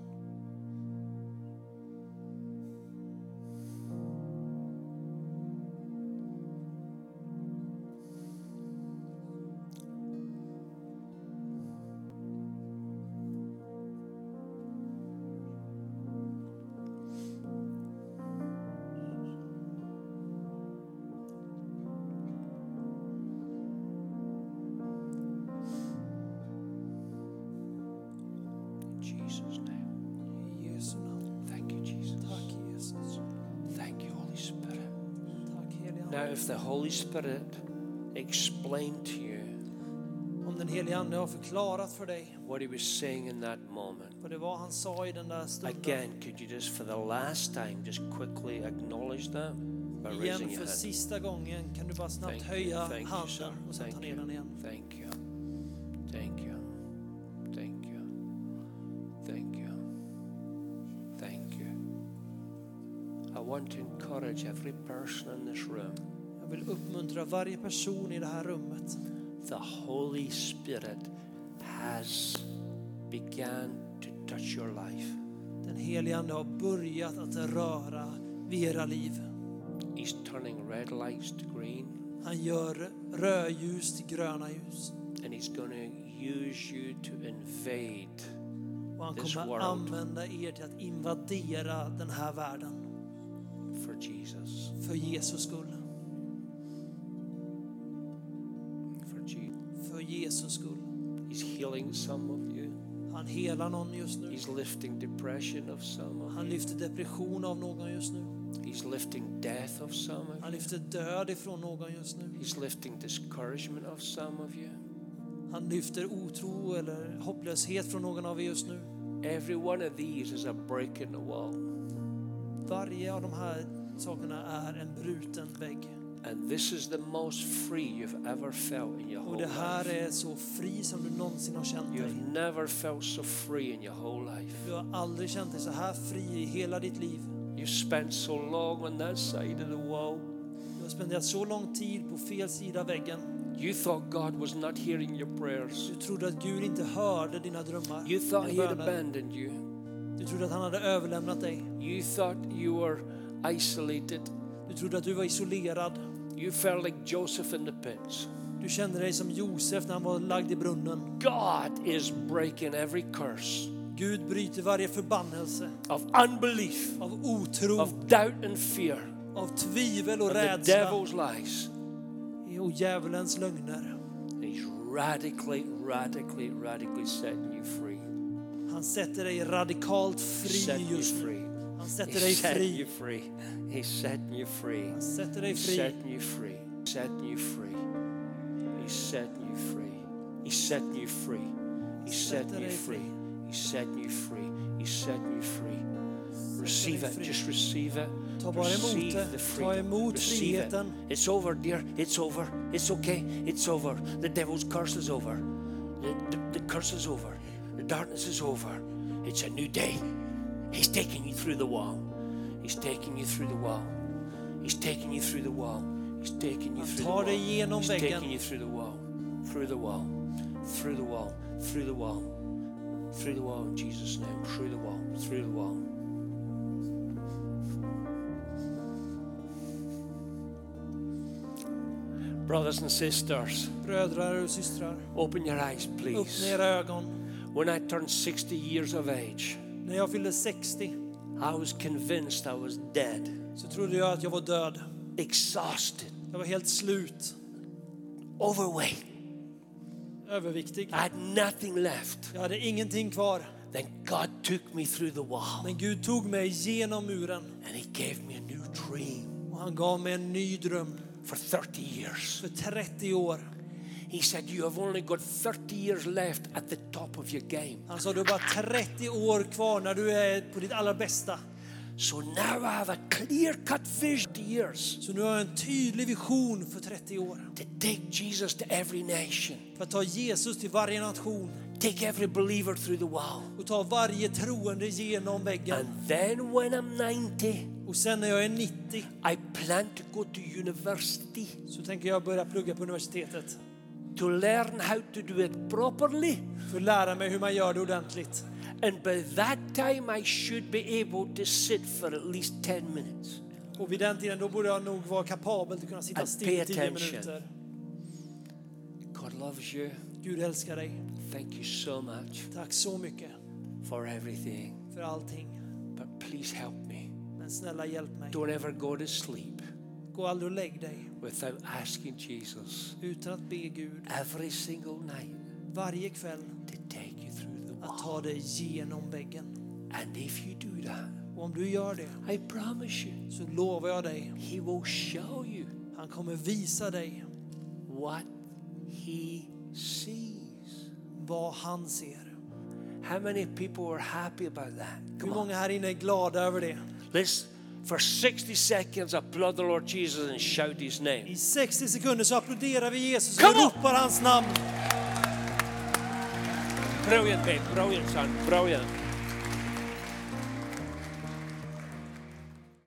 Speaker 1: In Jesus' name.
Speaker 2: I Jesu namn.
Speaker 1: Thank you, Jesus.
Speaker 2: Tack Jesus.
Speaker 1: Thank you, Holy Spirit.
Speaker 2: Tack helige
Speaker 1: Now,
Speaker 2: Ande.
Speaker 1: if the Holy Spirit explained to you
Speaker 2: Om den helige Ande har förklarat för dig
Speaker 1: what he was saying in that moment,
Speaker 2: vad det var han sa i den där stunden.
Speaker 1: again, could you just for the last time just quickly acknowledge that by raising
Speaker 2: Igen
Speaker 1: your
Speaker 2: för
Speaker 1: hand?
Speaker 2: sista gången kan du bara snabbt
Speaker 1: Thank you,
Speaker 2: höja
Speaker 1: thank you, sir.
Speaker 2: handen och sen ta
Speaker 1: Thank
Speaker 2: ner
Speaker 1: you.
Speaker 2: den igen.
Speaker 1: Thank you. Thank you. Thank you. Thank you. Thank you. I want to encourage every person in this room.
Speaker 2: Jag vill uppmuntra varje person i det här rummet.
Speaker 1: the Holy Spirit has began to touch your life.
Speaker 2: Den helige Ande har börjat att röra vid era liv.
Speaker 1: He's turning red lights to green
Speaker 2: Han gör rödljus till gröna ljus.
Speaker 1: and he's going to use you to invade.
Speaker 2: Och han
Speaker 1: This
Speaker 2: kommer
Speaker 1: world.
Speaker 2: använda er till att invadera den här världen
Speaker 1: for Jesus.
Speaker 2: för Jesus skull.
Speaker 1: For Jesus.
Speaker 2: För Jesus skull.
Speaker 1: He's healing some of you.
Speaker 2: Han helar någon just nu.
Speaker 1: He's lifting depression of some of
Speaker 2: Han lyfter depression av någon just nu.
Speaker 1: you. He's lifting death of some of you.
Speaker 2: Han lyfter död ifrån någon just nu.
Speaker 1: He's lifting discouragement of some of you.
Speaker 2: Han lyfter otro eller hopplöshet från någon av er just nu.
Speaker 1: Every one of these is a break in the wall.
Speaker 2: Varje av de här sakerna är en bruten vägg.
Speaker 1: And this is the most free you've ever felt in your
Speaker 2: Och
Speaker 1: whole
Speaker 2: det här
Speaker 1: life.
Speaker 2: är så fri som du någonsin har känt dig.
Speaker 1: You've never felt so free in your whole life.
Speaker 2: Du har aldrig känt dig så här fri i hela ditt liv.
Speaker 1: You spent so long on that side of the wall.
Speaker 2: Du har spenderat så lång tid på fel sida av väggen.
Speaker 1: You thought God was not hearing your prayers.
Speaker 2: Du trodde att Gud inte hörde dina drömmar.
Speaker 1: You thought
Speaker 2: dina
Speaker 1: He had
Speaker 2: böner.
Speaker 1: abandoned you.
Speaker 2: Du trodde att han hade överlämnat dig.
Speaker 1: You thought you were isolated.
Speaker 2: Du trodde att du var isolerad.
Speaker 1: You felt like Joseph in the pits.
Speaker 2: Du kände dig som Josef när han var lagd i brunnen.
Speaker 1: God is breaking every curse
Speaker 2: Gud bryter varje förbannelse
Speaker 1: of unbelief,
Speaker 2: av otro,
Speaker 1: of doubt and fear,
Speaker 2: av tvivel och
Speaker 1: of the
Speaker 2: rädsla
Speaker 1: devil's lies.
Speaker 2: och djävulens lögner.
Speaker 1: And He's radically, radically, radically setting you free.
Speaker 2: Han sätter dig radikalt fri
Speaker 1: setting you
Speaker 2: just nu.
Speaker 1: free.
Speaker 2: Han sätter dig
Speaker 1: He's setting you
Speaker 2: fri.
Speaker 1: free. He's setting you free.
Speaker 2: Han sätter dig
Speaker 1: He's
Speaker 2: fri.
Speaker 1: setting you free. Setting you free. He's setting you free. He's setting you free. He's setting you
Speaker 2: Setting you
Speaker 1: free.
Speaker 2: free.
Speaker 1: He's setting you free. He's setting you free. Receive
Speaker 2: dig
Speaker 1: it.
Speaker 2: fri.
Speaker 1: Just receive it.
Speaker 2: Ta bara emot
Speaker 1: Receive
Speaker 2: det.
Speaker 1: the
Speaker 2: Ta
Speaker 1: freedom.
Speaker 2: emot
Speaker 1: Receive it.
Speaker 2: friheten.
Speaker 1: It's over, dear. It's over. It's okay. It's over. The devil's curse is over. The, the, the curse is over. The darkness is over. It's a new day. He's taking you through the wall. He's taking you through the wall. He's taking you through the wall. He's taking you
Speaker 2: Han
Speaker 1: through the
Speaker 2: tar
Speaker 1: wall.
Speaker 2: dig igenom
Speaker 1: He's
Speaker 2: väggen.
Speaker 1: taking you through the wall. Through the wall. Through the wall. Through the wall. Through the wall in Jesus' name. Through the wall. Through the wall. Brothers and sisters,
Speaker 2: Brödrar och systrar,
Speaker 1: open your eyes,
Speaker 2: öppna
Speaker 1: please.
Speaker 2: era ögon.
Speaker 1: When I turned 60 years of age,
Speaker 2: När jag fyllde 60
Speaker 1: I was convinced I was dead,
Speaker 2: så trodde jag att jag var död.
Speaker 1: exhausted,
Speaker 2: Jag var helt slut,
Speaker 1: overweight.
Speaker 2: överviktig.
Speaker 1: I had nothing left.
Speaker 2: Jag hade ingenting kvar.
Speaker 1: Then God took me through the wall
Speaker 2: Men Gud tog mig genom muren
Speaker 1: and He gave me a new dream
Speaker 2: och han gav mig en ny dröm
Speaker 1: for 30 years.
Speaker 2: för 30 år.
Speaker 1: He said, You have only got 30 years left at the top of your game.
Speaker 2: Han sa du har bara 30 år kvar när du är på ditt allra bästa.
Speaker 1: So now I have a clear cut vision to years
Speaker 2: Så nu har jag en tydlig vision för 30 år.
Speaker 1: to take Jesus to every nation,
Speaker 2: För att ta Jesus till varje nation
Speaker 1: take every believer through the wall.
Speaker 2: och ta varje troende genom väggen.
Speaker 1: And then when I'm 90,
Speaker 2: Och sen när jag är 90
Speaker 1: I plan to go to university
Speaker 2: så tänker jag börja plugga på universitetet
Speaker 1: to learn how to do it properly.
Speaker 2: för att lära mig hur man gör det ordentligt.
Speaker 1: And by that time, I should be able to sit for at least 10 minutes.
Speaker 2: Och vid den tiden då borde jag nog vara kapabel till att kunna sitta
Speaker 1: And
Speaker 2: still i
Speaker 1: pay
Speaker 2: 10
Speaker 1: attention.
Speaker 2: minuter.
Speaker 1: God loves you.
Speaker 2: Gud älskar dig.
Speaker 1: Thank you so much
Speaker 2: Tack så mycket
Speaker 1: for everything.
Speaker 2: för allting.
Speaker 1: But please help me.
Speaker 2: Men snälla hjälp mig.
Speaker 1: Don't ever go to sleep
Speaker 2: Gå aldrig och lägg dig
Speaker 1: without asking Jesus
Speaker 2: utan att be Gud
Speaker 1: every single night
Speaker 2: varje kväll
Speaker 1: to take you through the
Speaker 2: att
Speaker 1: wall.
Speaker 2: ta dig genom väggen.
Speaker 1: And if you do that,
Speaker 2: Och om du gör det
Speaker 1: I promise you,
Speaker 2: så lovar jag dig,
Speaker 1: He will show you
Speaker 2: han kommer visa dig
Speaker 1: what He sees.
Speaker 2: vad han ser.
Speaker 1: How many people were happy about that?
Speaker 2: Hur
Speaker 1: Come on.
Speaker 2: många här inne är glada över det?
Speaker 1: Let's, for 60 seconds, applaud the Lord Jesus and shout his name.
Speaker 2: I 60 sekunder så applåderar vi Jesus och
Speaker 1: Come on!
Speaker 2: ropar hans namn.
Speaker 1: Brilliant, babe. Brilliant, son. Brilliant.